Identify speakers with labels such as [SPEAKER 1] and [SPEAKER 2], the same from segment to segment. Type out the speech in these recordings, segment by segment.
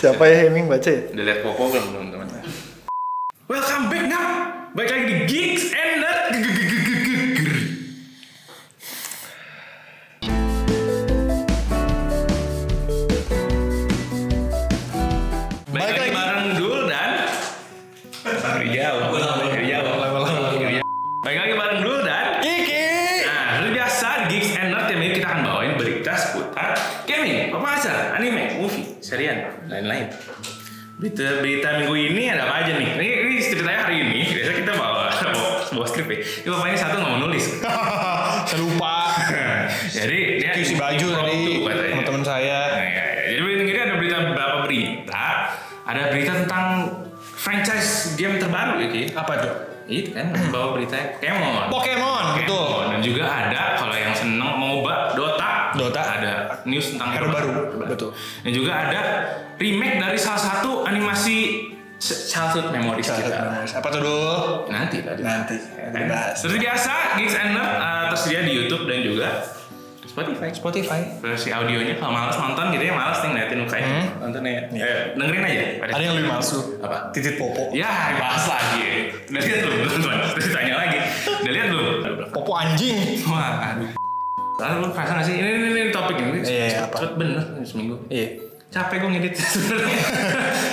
[SPEAKER 1] Siapa ya Heming baca ya?
[SPEAKER 2] Udah lihat Popo belum teman-teman? Welcome back now. Baik lagi di Geeks and Nerd. Baik lagi bareng Dul dan Rijal. Rijal. Baik lagi bareng Dul dan
[SPEAKER 1] Kiki.
[SPEAKER 2] Nah, seperti biasa di Geeks and Nerd yang ini kita akan bawain berita seputar gaming, pemasaran, anime, movie, serial, lain-lain. Berita berita minggu ini ada apa aja nih? Ini, ini ceritanya hari ini. Biasa kita bawa bawa, bawa skrip ya. Ini bapak ini satu nggak mau nulis.
[SPEAKER 3] saya lupa
[SPEAKER 2] Jadi dia
[SPEAKER 3] cuci baju tadi
[SPEAKER 2] impromptu katanya.
[SPEAKER 3] teman-teman saya
[SPEAKER 2] Nah, ya, ya. Jadi berita ini ada berita beberapa berita. Ada berita tentang franchise game terbaru ya, Ki.
[SPEAKER 3] apa tuh
[SPEAKER 2] Itu kan bawa beritanya Pokemon.
[SPEAKER 3] Pokemon betul
[SPEAKER 2] Pokemon. Dan juga ada kalau yang seneng MOBA Dota.
[SPEAKER 3] Dota.
[SPEAKER 2] Ada news tentang
[SPEAKER 3] Hero baru, betul.
[SPEAKER 2] Dan juga ada remake dari salah satu animasi ch- childhood memories
[SPEAKER 3] Salah satu
[SPEAKER 2] kita.
[SPEAKER 3] menarik. apa tuh dulu
[SPEAKER 2] Nanti tadi.
[SPEAKER 3] nanti kita bahas
[SPEAKER 2] Seperti biasa, Geeks and Nerd uh, tersedia di YouTube dan juga Spotify.
[SPEAKER 3] Spotify
[SPEAKER 2] Versi audionya kalau males nonton gitu ya males nih ngeliatin mukanya.
[SPEAKER 3] Hmm.
[SPEAKER 2] Nonton ya.
[SPEAKER 3] Iya.
[SPEAKER 2] Eh, dengerin aja.
[SPEAKER 3] ada yang lebih masuk
[SPEAKER 2] Apa?
[SPEAKER 3] titit popo
[SPEAKER 2] Ya, dibahas lagi. Udah lihat belum? Teman-teman? Terus tanya lagi. Udah lihat belum?
[SPEAKER 3] popo anjing
[SPEAKER 2] Wah, aduh. Lalu lu kerasa gak sih? Ini, ini, ini topik ini.
[SPEAKER 3] Iya, iya, apa?
[SPEAKER 2] Cepet bener ini seminggu.
[SPEAKER 3] iya
[SPEAKER 2] Capek gue ngedit sebenarnya.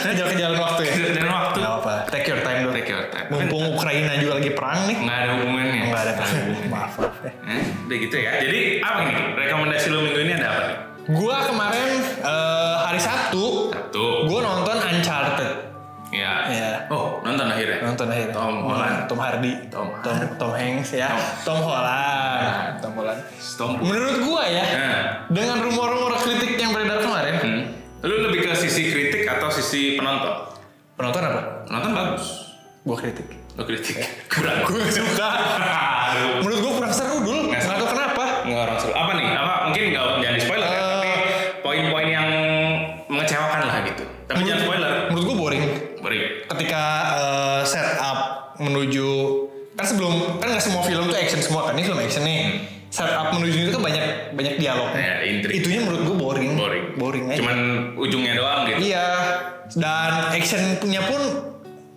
[SPEAKER 3] kejar kejalan waktu ya
[SPEAKER 2] Dan waktu.
[SPEAKER 3] nggak apa take your time dulu
[SPEAKER 2] Take your time.
[SPEAKER 3] mumpung Ukraina juga lagi perang nih
[SPEAKER 2] Nggak ada hubungannya.
[SPEAKER 3] nggak ada perang
[SPEAKER 2] hubungannya.
[SPEAKER 3] maaf maaf ya
[SPEAKER 2] Eh, udah gitu ya. Jadi apa nih? Rekomendasi lu minggu ini ada apa nih?
[SPEAKER 3] gua kemarin eh, hari Sabtu
[SPEAKER 2] Satu.
[SPEAKER 3] gua nonton Uncharted
[SPEAKER 2] Ya.
[SPEAKER 3] Iya.
[SPEAKER 2] Oh, nonton akhirnya.
[SPEAKER 3] nonton akhirnya
[SPEAKER 2] Tom Holland.
[SPEAKER 3] Tom Hardy
[SPEAKER 2] Tom
[SPEAKER 3] Tom, Tom Hanks ya Tom, Holland Tom Holland
[SPEAKER 2] Tom.
[SPEAKER 3] menurut gua ya
[SPEAKER 2] Nah.
[SPEAKER 3] dengan rumor-rumor kritik yang beredar kemarin
[SPEAKER 2] Hmm. Lu lebih ke sisi kritik atau sisi penonton?
[SPEAKER 3] penonton apa
[SPEAKER 2] Penonton bagus.
[SPEAKER 3] gua kritik
[SPEAKER 2] Lu kritik.
[SPEAKER 3] Eh.
[SPEAKER 2] Kurang.
[SPEAKER 3] gua nggak suka
[SPEAKER 2] Aduh.
[SPEAKER 3] menurut gua kurang seru dul
[SPEAKER 2] Nggak
[SPEAKER 3] nggak tahu kenapa
[SPEAKER 2] Nggak orang seru. Apa nih? Apa mungkin nggak jangan di spoiler ya,
[SPEAKER 3] Eh.
[SPEAKER 2] tapi poin-poin yang mengecewakan lah gitu. Tapi jangan spoiler.
[SPEAKER 3] menurut gua boring
[SPEAKER 2] Beri.
[SPEAKER 3] ketika eh, setup menuju kan sebelum kan nggak semua film tuh action semua kan ini film action nih setup menuju itu kan banyak banyak dialog
[SPEAKER 2] Ya, intrik.
[SPEAKER 3] itunya menurut gua Iya, boring
[SPEAKER 2] Boring.
[SPEAKER 3] boring aja
[SPEAKER 2] Cuman ujungnya doang gitu.
[SPEAKER 3] Iya. Dan actionnya pun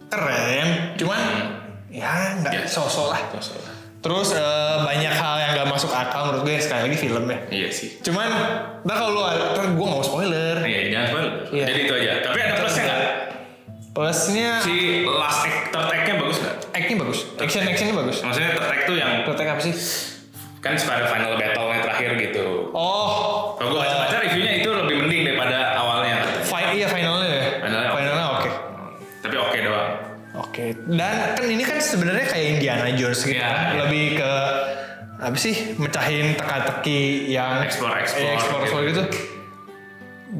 [SPEAKER 3] keren, cuman ya nggak
[SPEAKER 2] Biasa.
[SPEAKER 3] sosok lah.
[SPEAKER 2] Terus apa?
[SPEAKER 3] Terus eh, banyak hal yang nggak masuk akal menurut gue sekali lagi film ya.
[SPEAKER 2] Iya sih.
[SPEAKER 3] Cuman ntar kalau lu ntar gue nggak mau spoiler.
[SPEAKER 2] Iya, jangan spoiler.
[SPEAKER 3] Iya.
[SPEAKER 2] Jadi itu aja. Tapi ada plusnya nggak?
[SPEAKER 3] Plusnya
[SPEAKER 2] Si last act, third act-nya bagus nggak?
[SPEAKER 3] actingnya bagus, action actionnya bagus.
[SPEAKER 2] Maksudnya third act tuh yang
[SPEAKER 3] Tertek apa sih?
[SPEAKER 2] kan pada final battle-nya terakhir gitu.
[SPEAKER 3] Oh,
[SPEAKER 2] Kalau gue baca-baca reviewnya itu lebih mending daripada awalnya.
[SPEAKER 3] fi- iya finalnya ya.
[SPEAKER 2] Finalnya oke.
[SPEAKER 3] oke.
[SPEAKER 2] Tapi oke doang.
[SPEAKER 3] Oke. Dan kan ini kan sebenarnya kayak Indiana Jones gitu.
[SPEAKER 2] Iya,
[SPEAKER 3] kan.
[SPEAKER 2] iya.
[SPEAKER 3] Lebih ke apa sih? Mecahin teka-teki yang
[SPEAKER 2] Explore-explore
[SPEAKER 3] eh, explore, explore gitu.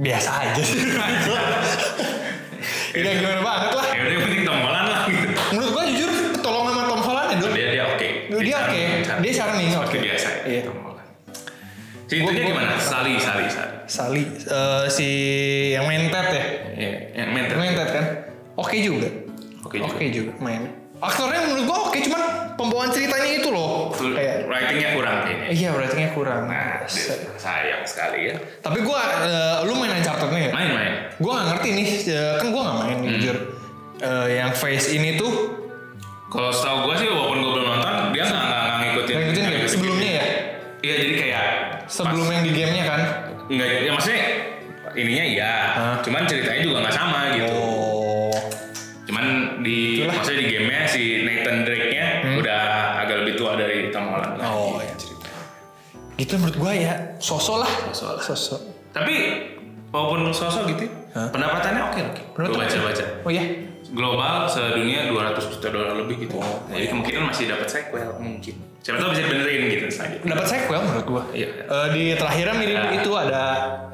[SPEAKER 3] Biasa aja sih. Iya gimana banget lah.
[SPEAKER 2] Ya udah yang penting tombolan lah gitu.
[SPEAKER 3] Menurut gua jujur tolong sama Tom Holland ya, Dul.
[SPEAKER 2] Dia dia oke.
[SPEAKER 3] Dia oke.
[SPEAKER 2] charming.
[SPEAKER 3] Dia charming, oke.
[SPEAKER 2] Seperti biasa.
[SPEAKER 3] Iya.
[SPEAKER 2] Tombolan. Si itunya
[SPEAKER 3] Gua- gua-
[SPEAKER 2] gimana? Sali, sali, sali.
[SPEAKER 3] Sali eh, si yang main Ted ya.
[SPEAKER 2] Iya, yang main
[SPEAKER 3] Yang main Ted kan. Oke juga.
[SPEAKER 2] Oke juga.
[SPEAKER 3] juga. main. Aktornya menurut gua oke, cuman pembawaan ceritanya itu loh. Kayak
[SPEAKER 2] Writingnya kurang kayaknya.
[SPEAKER 3] Iya, ratingnya kurang.
[SPEAKER 2] Nah, dia- sayang sekali ya.
[SPEAKER 3] Tapi gua eh, lu main Uncharted nih ya?
[SPEAKER 2] Main-main.
[SPEAKER 3] Gua nggak ngerti nih, eh, kan gua nggak main jujur. Eh, yang face ini tuh
[SPEAKER 2] Kalau setahu gue sih walaupun gue belum nonton, dia nggak nggak nggak ngikutin. gitu.
[SPEAKER 3] yang ngikutin game sebelumnya ya?
[SPEAKER 2] Iya jadi kayak
[SPEAKER 3] Sebelum yang di gamenya kan?
[SPEAKER 2] nggak ya maksudnya ininya iya,
[SPEAKER 3] Hah?
[SPEAKER 2] cuman ceritanya juga nggak sama gitu.
[SPEAKER 3] Oh.
[SPEAKER 2] Cuman di
[SPEAKER 3] Itulah. Hmm?
[SPEAKER 2] maksudnya di gamenya si Nathan Drake-nya udah agak lebih tua dari Tom Holland.
[SPEAKER 3] Oh, iya. Gitu menurut gua ya, sosok lah.
[SPEAKER 2] Sosok lah.
[SPEAKER 3] Sosok.
[SPEAKER 2] Tapi walaupun sosok gitu,
[SPEAKER 3] Hah?
[SPEAKER 2] pendapatannya oke loh.
[SPEAKER 3] Pendapat
[SPEAKER 2] Gue baca baca.
[SPEAKER 3] Oh iya?
[SPEAKER 2] Global sedunia 200 juta dolar lebih gitu.
[SPEAKER 3] Oh, iya.
[SPEAKER 2] Jadi kemungkinan masih dapat sequel mungkin. Siapa tahu bisa dibenerin gitu saja.
[SPEAKER 3] Dapat sequel menurut gua.
[SPEAKER 2] Iya.
[SPEAKER 3] Eh, di terakhirnya mirip
[SPEAKER 2] Ada-
[SPEAKER 3] itu ada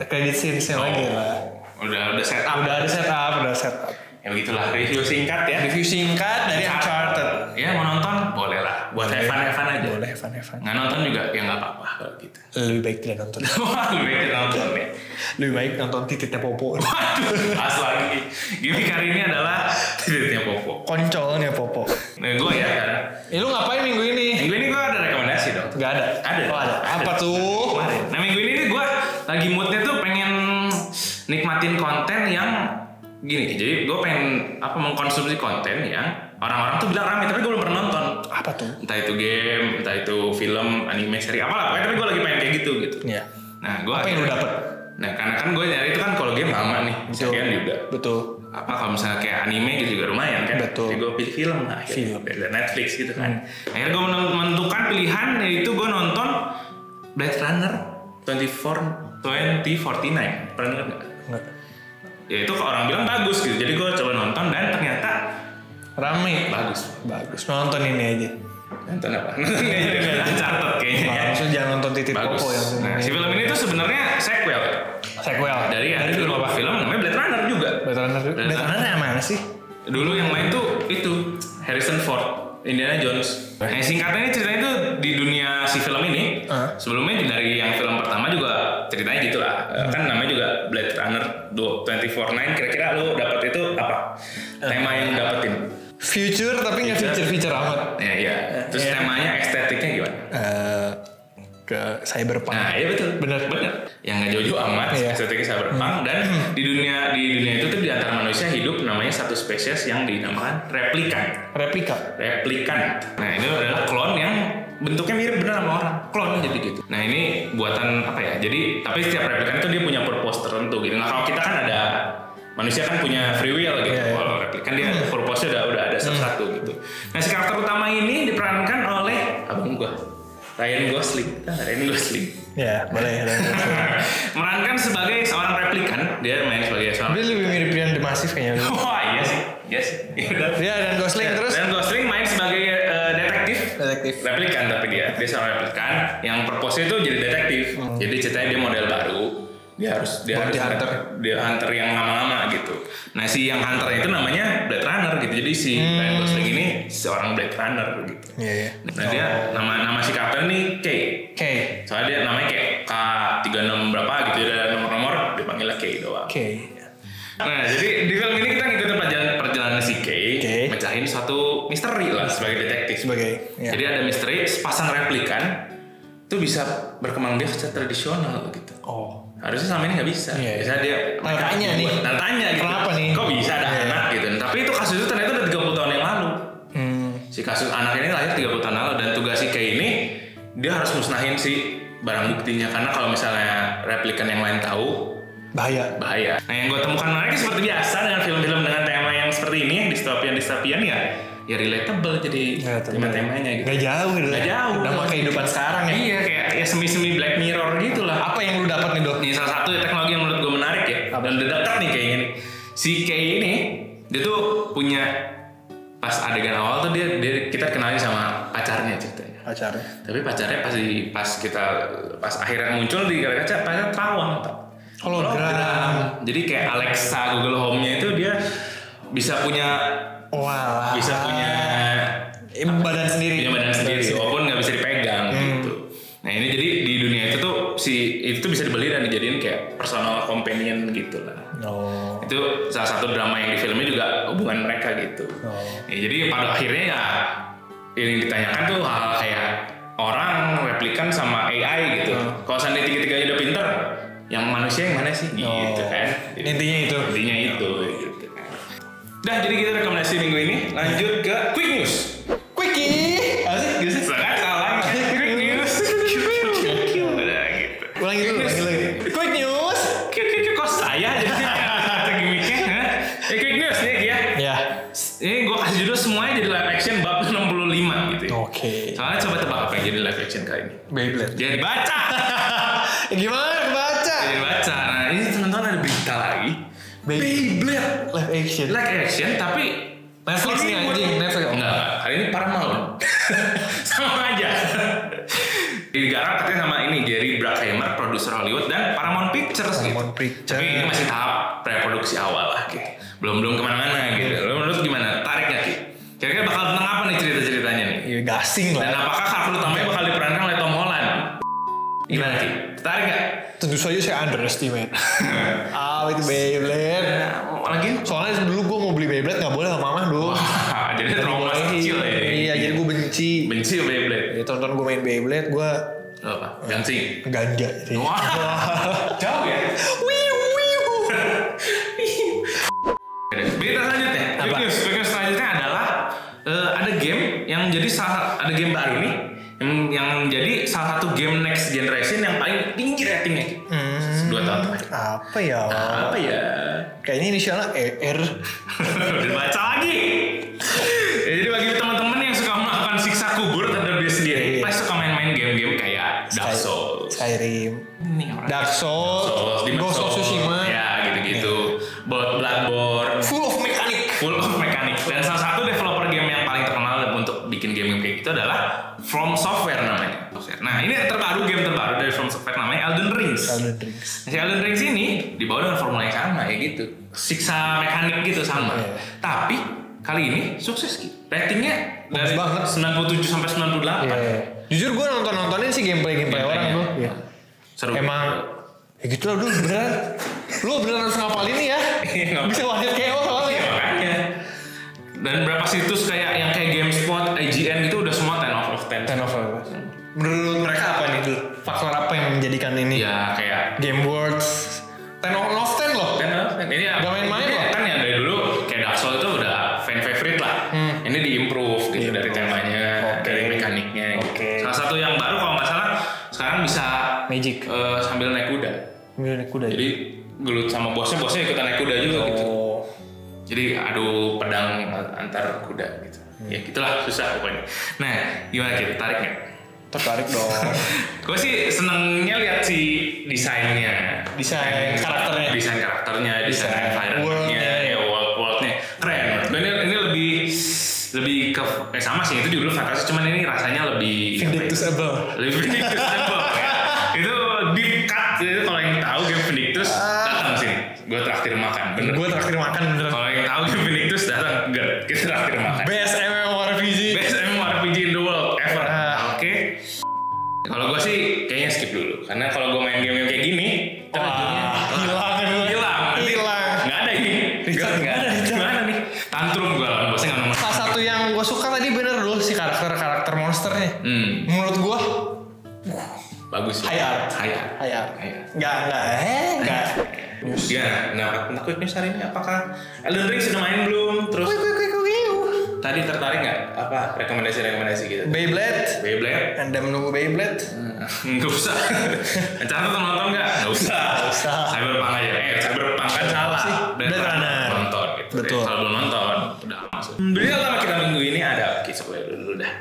[SPEAKER 3] credit scenes-nya lagi lah.
[SPEAKER 2] Udah udah set up.
[SPEAKER 3] Udah ada setup, udah setup.
[SPEAKER 2] Ya begitulah review singkat ya.
[SPEAKER 3] Review singkat dari Uncharted.
[SPEAKER 2] Ya mau nonton boleh lah. Buat
[SPEAKER 3] Boleh.
[SPEAKER 2] Evan Evan aja.
[SPEAKER 3] Boleh, Evan, Evan.
[SPEAKER 2] Nggak nonton juga ya nggak apa-apa kalau gitu.
[SPEAKER 3] Lebih baik tidak nonton.
[SPEAKER 2] Wah, lebih baik nonton ya.
[SPEAKER 3] lebih baik nonton titiknya popo
[SPEAKER 2] Waduh, pas lagi. Gimik hari ini adalah titiknya Popo.
[SPEAKER 3] koncolnya popo
[SPEAKER 2] Nah, gue ya. kan.
[SPEAKER 3] eh, lu ngapain minggu ini
[SPEAKER 2] Minggu ini gue ada rekomendasi dong.
[SPEAKER 3] Gak ada
[SPEAKER 2] Ada.
[SPEAKER 3] oh, ada. apa tuh
[SPEAKER 2] Nah minggu ini gue lagi moodnya tuh pengen nikmatin konten yang gini jadi gue pengen apa mengkonsumsi konten yang orang-orang tuh bilang rame tapi gue belum pernah nonton
[SPEAKER 3] Apa tuh?
[SPEAKER 2] entah itu game entah itu film anime seri apalah pokoknya tapi gue lagi pengen kayak gitu gitu
[SPEAKER 3] Iya.
[SPEAKER 2] nah gue
[SPEAKER 3] Apa yang lu dapet?
[SPEAKER 2] nah karena kan gue nyari itu kan kalau game lama nih sekian juga
[SPEAKER 3] Betul.
[SPEAKER 2] apa kalau misalnya kayak anime gitu juga lumayan kan
[SPEAKER 3] Betul.
[SPEAKER 2] jadi gue pilih film lah akhirnya.
[SPEAKER 3] Film. Hmm.
[SPEAKER 2] Dari Netflix gitu kan akhirnya gue menentukan pilihan yaitu gue nonton Blade Runner 24 2049 pernah denger nggak?
[SPEAKER 3] Nggak.
[SPEAKER 2] ya itu orang bilang bagus gitu jadi gue coba nonton dan ternyata
[SPEAKER 3] Rame.
[SPEAKER 2] bagus
[SPEAKER 3] Bagus. Nonton ini aja.
[SPEAKER 2] nonton apa nonton aja Uncharted kayaknya ya.
[SPEAKER 3] Langsung jangan nonton titik
[SPEAKER 2] bagus
[SPEAKER 3] popo yang
[SPEAKER 2] nah si film ini tuh sebenarnya sequel
[SPEAKER 3] ya, sequel.
[SPEAKER 2] dari dari
[SPEAKER 3] film apa?
[SPEAKER 2] film namanya Blade Runner juga
[SPEAKER 3] Blade Runner.
[SPEAKER 2] Blade
[SPEAKER 3] Blade Runner yang mana sih?
[SPEAKER 2] Dulu yang main tuh itu Harrison Ford, Indiana Jones.
[SPEAKER 3] Eh?
[SPEAKER 2] Nah, singkatnya ini ceritanya itu di dunia si film ini.
[SPEAKER 3] Hah?
[SPEAKER 2] Sebelumnya dari yang film pertama juga ceritanya gitulah. lah
[SPEAKER 3] Hmm.
[SPEAKER 2] Kan namanya juga Blade Runner 249. Kira-kira lu dapat itu apa?
[SPEAKER 3] Eh.
[SPEAKER 2] Tema yang lu dapetin.
[SPEAKER 3] Future tapi nggak
[SPEAKER 2] Future.
[SPEAKER 3] future future Iya, amat.
[SPEAKER 2] Ya, iya. Terus
[SPEAKER 3] Iya.
[SPEAKER 2] temanya estetiknya gimana?
[SPEAKER 3] Eh, ke cyberpunk.
[SPEAKER 2] Nah, iya betul.
[SPEAKER 3] Bener.
[SPEAKER 2] Bener. Yang nggak jauh-jauh amat,
[SPEAKER 3] Iya. Hmm.
[SPEAKER 2] estetiknya cyberpunk dan di dunia di dunia itu tuh di antara manusia hidup namanya satu spesies yang dinamakan replikan.
[SPEAKER 3] Replika.
[SPEAKER 2] replikan. Nah ini adalah klon yang bentuknya mirip bener sama orang klon jadi gitu. Nah ini buatan apa ya? Jadi tapi setiap replikan itu dia punya purpose tertentu gitu. Nah kalau kita kan ada manusia kan punya free will gitu.
[SPEAKER 3] Iya, Hmm. iya.
[SPEAKER 2] Kalau replikan dia purpose-nya udah udah ada satu-satu gitu. Nah si karakter utama ini diperankan oleh abang gua Ryan Gosling. Ah, Ryan Gosling
[SPEAKER 3] Ya boleh.
[SPEAKER 2] merankan sebagai seorang replikan dia main sebagai seorang.
[SPEAKER 3] Tapi lebih mirip Ryan The Massive kayaknya.
[SPEAKER 2] Wah iya sih, iya sih. Iya, udah.
[SPEAKER 3] Dia dan Gosling terus.
[SPEAKER 2] Ryan Gosling main sebagai eh, detektif
[SPEAKER 3] Detektif.
[SPEAKER 2] replikan tapi dia dia seorang replikan yang purpose itu jadi detektif
[SPEAKER 3] Hmm.
[SPEAKER 2] jadi ceritanya dia model baru dia harus dia
[SPEAKER 3] Bounty
[SPEAKER 2] harus
[SPEAKER 3] hunter.
[SPEAKER 2] dia hunter yang lama-lama gitu nah si yang hunter itu namanya Blade Runner gitu jadi si Ryan Gosling ini seorang Blade Runner gitu
[SPEAKER 3] Hmm. Iya iya.
[SPEAKER 2] nah dia nama nama si karakter ini K
[SPEAKER 3] Oke.
[SPEAKER 2] soalnya dia namanya kayak K 36 berapa gitu dia ada nomor-nomor dipanggilnya K doang
[SPEAKER 3] Oke.
[SPEAKER 2] Nah, jadi di film ini kita ngikutin perjalanan perjalanan si K,
[SPEAKER 3] Oke.
[SPEAKER 2] mecahin suatu misteri lah sebagai detektif.
[SPEAKER 3] Sebagai. ya.
[SPEAKER 2] Jadi ada misteri sepasang replikan itu bisa berkembang biak secara tradisional gitu.
[SPEAKER 3] Oh.
[SPEAKER 2] Harusnya selama ini nggak bisa.
[SPEAKER 3] Iya, iya.
[SPEAKER 2] Biasanya dia
[SPEAKER 3] Nah, tanya nih.
[SPEAKER 2] Nah, tanya gitu.
[SPEAKER 3] Kenapa nih?
[SPEAKER 2] Kok bisa ada
[SPEAKER 3] Iya.
[SPEAKER 2] anak gitu? Tapi itu kasus itu ternyata udah 30 tahun yang lalu.
[SPEAKER 3] Hmm.
[SPEAKER 2] Si kasus anak ini lahir 30 tahun lalu dan tugas si K ini dia harus musnahin si barang buktinya karena kalau misalnya replikan yang lain tahu
[SPEAKER 3] Bahaya.
[SPEAKER 2] bahaya. Nah yang gue temukan menarik seperti biasa dengan film-film dengan tema yang seperti ini, yang dystopian dystopian ya, ya relatable jadi
[SPEAKER 3] Relatable.
[SPEAKER 2] tema-temanya gitu.
[SPEAKER 3] Gak Ya, jauh gitu.
[SPEAKER 2] Gak jauh.
[SPEAKER 3] Nama kehidupan sekarang ya.
[SPEAKER 2] Iya kayak ya semi-semi Black Mirror gitu lah.
[SPEAKER 3] Apa yang lu dapat nih dok?
[SPEAKER 2] Ini salah satu teknologi yang menurut gue menarik ya. Dan udah dekat nih kayaknya nih. Si Kay ini dia tuh punya pas adegan awal tuh dia, dia kita kenalin sama pacarnya ceritanya.
[SPEAKER 3] Pacarnya.
[SPEAKER 2] Tapi pacarnya pas di- pas kita pas akhirnya muncul di kaca kaca pacarnya terawang. Pak.
[SPEAKER 3] Hologram.
[SPEAKER 2] Jadi kayak Alexa, Google Home-nya itu dia bisa punya
[SPEAKER 3] Walah.
[SPEAKER 2] bisa punya
[SPEAKER 3] Eh, badan sendiri.
[SPEAKER 2] punya badan sendiri walaupun nggak bisa dipegang gitu. Nah ini jadi di dunia itu tuh si itu tuh bisa dibeli dan dijadiin kayak personal companion gitu lah
[SPEAKER 3] Oh.
[SPEAKER 2] itu salah satu drama yang di filmnya juga hubungan mereka gitu
[SPEAKER 3] Oh.
[SPEAKER 2] Ya, jadi pada akhirnya ya yang ditanyakan tuh hal kayak orang replikan sama AI gitu
[SPEAKER 3] Hmm.
[SPEAKER 2] kalau seandainya tiga-tiganya udah pinter yang manusia yang mana sih gitu
[SPEAKER 3] Oh.
[SPEAKER 2] kan Jadi,
[SPEAKER 3] Intinya itu. Ya.
[SPEAKER 2] intinya itu gitu kan Dah jadi kita rekomendasi minggu ini lanjut ke quick news
[SPEAKER 3] Quickie. Apa sih? Gitu sih?
[SPEAKER 2] sangat salah kan? quick news Udah, gitu
[SPEAKER 3] Ulangi dulu. Ulangi lagi. Quick news.
[SPEAKER 2] Quick, quick, quick, kok saya jadi kata gimmicknya hah? Eh, quick news nih ya
[SPEAKER 3] Ya.
[SPEAKER 2] ini gue kasih judul semuanya jadi live action bab 65 gitu ya.
[SPEAKER 3] Oh. Oke.
[SPEAKER 2] Soalnya coba tebak apa yang jadi live action kali ini.
[SPEAKER 3] Beyblade.
[SPEAKER 2] Jadi baca.
[SPEAKER 3] Eh, Gimana kebaca?
[SPEAKER 2] jadi baca. Nah, ini teman-teman ada berita lagi.
[SPEAKER 3] Bey-
[SPEAKER 2] Beyblade
[SPEAKER 3] Live action.
[SPEAKER 2] live action tapi
[SPEAKER 3] Netflix nih
[SPEAKER 2] Hollywood.
[SPEAKER 3] anjing, Netflix.
[SPEAKER 2] Enggak, enggak. Kali ini Paramount. sama aja. Digarap katanya sama ini Jerry Bruckheimer, produser Hollywood dan Paramount Pictures
[SPEAKER 3] Paramount
[SPEAKER 2] gitu. Tapi
[SPEAKER 3] Pictures.
[SPEAKER 2] ini masih tahap pre-produksi awal lah gitu. Belum belum kemana-mana gitu. Lo menurut gimana? Tarik gak Ki? Kira-kira bakal tentang apa nih cerita-ceritanya nih?
[SPEAKER 3] Ya gasing
[SPEAKER 2] Dan
[SPEAKER 3] lah.
[SPEAKER 2] apakah karakter utamanya bakal diperankan oleh Tom Holland? Gimana Ki? Tertarik gak?
[SPEAKER 3] Tentu saja saya underestimate. Ah, itu Beyblade.
[SPEAKER 2] Nah, Lagi?
[SPEAKER 3] Soalnya dulu gue mau beli Beyblade nggak boleh sama mama dulu.
[SPEAKER 2] jadi
[SPEAKER 3] Nggak
[SPEAKER 2] trauma
[SPEAKER 3] dibolehin.
[SPEAKER 2] kecil ya.
[SPEAKER 3] Iya, jadi gue benci.
[SPEAKER 2] Benci ya, sama Beyblade.
[SPEAKER 3] Jadi tonton gue main Beyblade, gue
[SPEAKER 2] Lo apa? Gansing.
[SPEAKER 3] ganja. Jadi.
[SPEAKER 2] Wah, jauh ya.
[SPEAKER 3] Oh, Wiu, wiu.
[SPEAKER 2] eh, salah ada game baru nih yang, yang jadi salah satu game next generation yang paling tinggi ratingnya.
[SPEAKER 3] Hmm.
[SPEAKER 2] Dua tahun terakhir.
[SPEAKER 3] Apa ya?
[SPEAKER 2] Apa ya?
[SPEAKER 3] Kayaknya inisialnya ER.
[SPEAKER 2] Udah baca lagi. Ya, jadi bagi teman-teman yang suka melakukan siksa kubur terhadap diri sendiri,
[SPEAKER 3] Iya.
[SPEAKER 2] pasti suka main-main game-game kayak Dark
[SPEAKER 3] Sky-
[SPEAKER 2] Souls.
[SPEAKER 3] Skyrim.
[SPEAKER 2] Ini orang-
[SPEAKER 3] Dark Souls.
[SPEAKER 2] Souls, Demon's
[SPEAKER 3] Ghost of
[SPEAKER 2] Souls,
[SPEAKER 3] Tsushima. Iya.
[SPEAKER 2] Ya, gitu-gitu. Bo- Bloodborne.
[SPEAKER 3] Full of mechanic.
[SPEAKER 2] full of mechanic dan salah satu developer game yang paling terkenal untuk bikin game kayak gitu adalah From Software namanya. Nah ini terbaru game terbaru dari From Software namanya Elden Rings. Nah,
[SPEAKER 3] Elden Rings.
[SPEAKER 2] Si Elden Rings ini dibawa dengan formula yang sama ya gitu. Siksa mekanik gitu sama.
[SPEAKER 3] Iya.
[SPEAKER 2] Tapi kali ini sukses gitu. Ratingnya
[SPEAKER 3] Bagus
[SPEAKER 2] dari
[SPEAKER 3] banget. Iya.
[SPEAKER 2] 97 sampai 98.
[SPEAKER 3] Jujur gue nonton nontonin sih gameplay gameplay orang
[SPEAKER 2] Iya. Gameplaynya. Iya.
[SPEAKER 3] tuh.
[SPEAKER 2] Seru.
[SPEAKER 3] Emang ya gitu lah dulu beneran. Lu beneran harus ngapalin nih ya.
[SPEAKER 2] Iya, ngapalin.
[SPEAKER 3] Bisa wasit kayak ya? soalnya.
[SPEAKER 2] Iya, makanya. Dan berapa situs kayak yang kayak GameSpot, IGN itu udah semua 10 out of 10.
[SPEAKER 3] Turnover. Menurut mereka apa nih dulu? Faktor apa yang menjadikan ini
[SPEAKER 2] Ya kayak
[SPEAKER 3] game words? Ten out of ten loh.
[SPEAKER 2] Kan, kan. ini
[SPEAKER 3] Gak main-main
[SPEAKER 2] ini
[SPEAKER 3] loh.
[SPEAKER 2] kan yang dari dulu kayak Dark Souls itu udah fan favorite lah
[SPEAKER 3] Hmm.
[SPEAKER 2] ini diimprove gitu dari temanya dari mekaniknya gitu.
[SPEAKER 3] Oke.
[SPEAKER 2] salah satu yang baru kalau nggak salah sekarang bisa
[SPEAKER 3] Magic.
[SPEAKER 2] eh, sambil naik kuda ya.
[SPEAKER 3] Kemudian kuda.
[SPEAKER 2] jadi gelut sama bosnya bosnya ikutan naik kuda juga gitu
[SPEAKER 3] Oh.
[SPEAKER 2] jadi adu pedang antar kuda gitu
[SPEAKER 3] Hmm.
[SPEAKER 2] ya gitulah susah pokoknya nah gimana kita tarik nggak
[SPEAKER 3] Tertarik dong.
[SPEAKER 2] gue sih senengnya lihat si desainnya Iya.
[SPEAKER 3] Desain ya, karakternya.
[SPEAKER 2] desain karakternya desain
[SPEAKER 3] Desain
[SPEAKER 2] environmentnya
[SPEAKER 3] world-nya.
[SPEAKER 2] ya world worldnya keren Dan ini, ini lebih lebih ke eh, sama sih itu dulu fantasi cuman ini rasanya lebih ya?
[SPEAKER 3] Invictus Abel.
[SPEAKER 2] lebih Vindictus Apple, ya. itu deep cut itu kalau yang tahu game Vindictus datang sini gue traktir makan bener
[SPEAKER 3] Gue terakhir makan beneran.
[SPEAKER 2] kalau yang tahu game Vindictus datang enggak kita traktir makan
[SPEAKER 3] Best MMORPG.
[SPEAKER 2] Best MMORPG in the world ever.
[SPEAKER 3] Ah.
[SPEAKER 2] Oke. Kalau gue sih kayaknya skip dulu karena kalau gue main game yang kayak gini ntar ujungnya-
[SPEAKER 3] Wah, hilang kan lu.
[SPEAKER 2] hilang Nanti
[SPEAKER 3] Hilang.
[SPEAKER 2] nggak ada ini
[SPEAKER 3] Richard,
[SPEAKER 2] nggak ada
[SPEAKER 3] gimana, Richard?
[SPEAKER 2] gimana nih tantrum gue lawan bosnya nggak nomor
[SPEAKER 3] Salah satu yang gue suka tadi bener dulu si karakter karakter monsternya.
[SPEAKER 2] hmm
[SPEAKER 3] Menurut gue
[SPEAKER 2] bagus
[SPEAKER 3] High art.
[SPEAKER 2] high art
[SPEAKER 3] kayak
[SPEAKER 2] High art.
[SPEAKER 3] nggak nggak eh nggak.
[SPEAKER 2] Gimana? Nah, tentang quick news hari ini apakah Elden Ring sudah main belum? Terus
[SPEAKER 3] Kui, kui, kui, kui, kui.
[SPEAKER 2] tadi tertarik nggak apa rekomendasi-rekomendasi gitu?
[SPEAKER 3] Beyblade.
[SPEAKER 2] Beyblade?
[SPEAKER 3] Anda menunggu Beyblade?
[SPEAKER 2] Nggak usah. Rencana nonton nonton nggak? Nggak usah.
[SPEAKER 3] Nggak usah.
[SPEAKER 2] Cyberpunk aja. Eh, Cyberpunk kan salah.
[SPEAKER 3] sih? Blade Runner.
[SPEAKER 2] Nonton gitu.
[SPEAKER 3] Betul.
[SPEAKER 2] Eh, Kalau belum nonton, udah masuk. Berita lama kita minggu ini ada. Oke, sebelum dulu dah.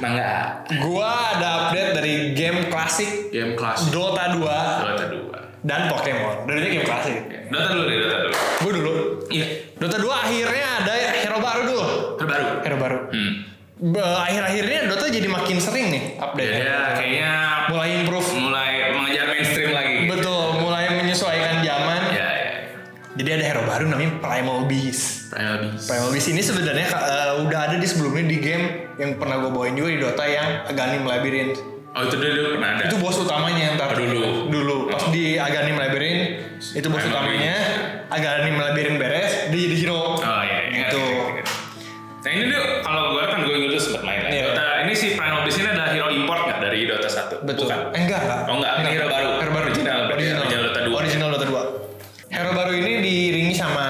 [SPEAKER 2] Mangga.
[SPEAKER 3] Gua ada update dari game klasik
[SPEAKER 2] Game klasik.
[SPEAKER 3] Dota 2
[SPEAKER 2] Dota 2.
[SPEAKER 3] dan Pokemon. Dulunya game klasik.
[SPEAKER 2] Dota dulu deh, Dota dulu.
[SPEAKER 3] Gue dulu.
[SPEAKER 2] Iya.
[SPEAKER 3] Dota 2 akhirnya ada hero baru dulu.
[SPEAKER 2] Terbaru.
[SPEAKER 3] Hero baru.
[SPEAKER 2] Hmm.
[SPEAKER 3] Be- Akhir-akhirnya Dota jadi makin sering nih update.
[SPEAKER 2] Jadi ya, kayaknya
[SPEAKER 3] Mulai improve.
[SPEAKER 2] mulai mengejar mainstream lagi.
[SPEAKER 3] Betul, mulai menyesuaikan zaman.
[SPEAKER 2] Ya, ya.
[SPEAKER 3] Jadi ada hero baru namanya Primal Beast.
[SPEAKER 2] Primal Beast.
[SPEAKER 3] Primal Beast ini sebenarnya eh, udah ada di sebelumnya di game yang pernah gue bawain juga di Dota yang Aghanim Labyrinth.
[SPEAKER 2] Oh, itu dulu dulu pernah ada.
[SPEAKER 3] Itu bos utamanya
[SPEAKER 2] Oh,
[SPEAKER 3] ntar.
[SPEAKER 2] dulu. Hmm.
[SPEAKER 3] Dulu. Pas di Aghanim Labyrinth itu bos
[SPEAKER 2] Primal
[SPEAKER 3] utamanya. Aghanim Labyrinth beres, dia jadi
[SPEAKER 2] Oh
[SPEAKER 3] hero.
[SPEAKER 2] iya, iya.
[SPEAKER 3] Gitu.
[SPEAKER 2] Nah ini tuh kalau gue kan gue dulu sempat main lah.
[SPEAKER 3] Iya.
[SPEAKER 2] Dota ini si Primal Beast ini adalah hero import nggak dari Dota 1?
[SPEAKER 3] Betul.
[SPEAKER 2] Bukan.
[SPEAKER 3] Eh, enggak, enggak.
[SPEAKER 2] Oh, enggak. Ini hero baru.
[SPEAKER 3] Hero baru.
[SPEAKER 2] Original.
[SPEAKER 3] Original.
[SPEAKER 2] Original Dota 2.
[SPEAKER 3] Original Dota 2. Hero baru ini diiringi sama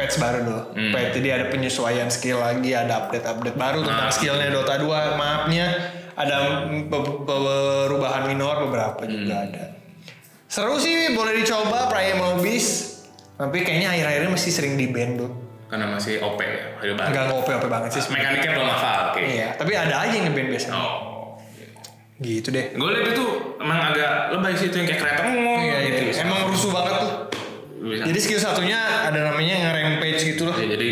[SPEAKER 3] patch baru dulu.
[SPEAKER 2] Hmm.
[SPEAKER 3] Patch jadi ada penyesuaian skill lagi, ada update-update baru tentang
[SPEAKER 2] Maaf.
[SPEAKER 3] skillnya Dota 2. Maafnya ada pe- pe- perubahan minor beberapa juga
[SPEAKER 2] Hmm.
[SPEAKER 3] ada. Seru sih, boleh dicoba Primal Beast. Tapi kayaknya akhir-akhirnya masih sering di ban tuh.
[SPEAKER 2] Karena masih OP ya, hero baru.
[SPEAKER 3] Enggak ngopi-ngopi banget sih. sebenarnya.
[SPEAKER 2] Mekaniknya belum hafal, oke.
[SPEAKER 3] Iya, tapi ada aja yang nge-ban biasanya.
[SPEAKER 2] Oh.
[SPEAKER 3] Gitu deh.
[SPEAKER 2] Gue liat itu emang agak lebay sih itu yang kayak kereta ngomong
[SPEAKER 3] Iya, iya.
[SPEAKER 2] gitu.
[SPEAKER 3] Emang rusuh banget tuh.
[SPEAKER 2] Bisa.
[SPEAKER 3] Jadi skill satunya ada namanya nge-rampage gitu loh.
[SPEAKER 2] Ya, jadi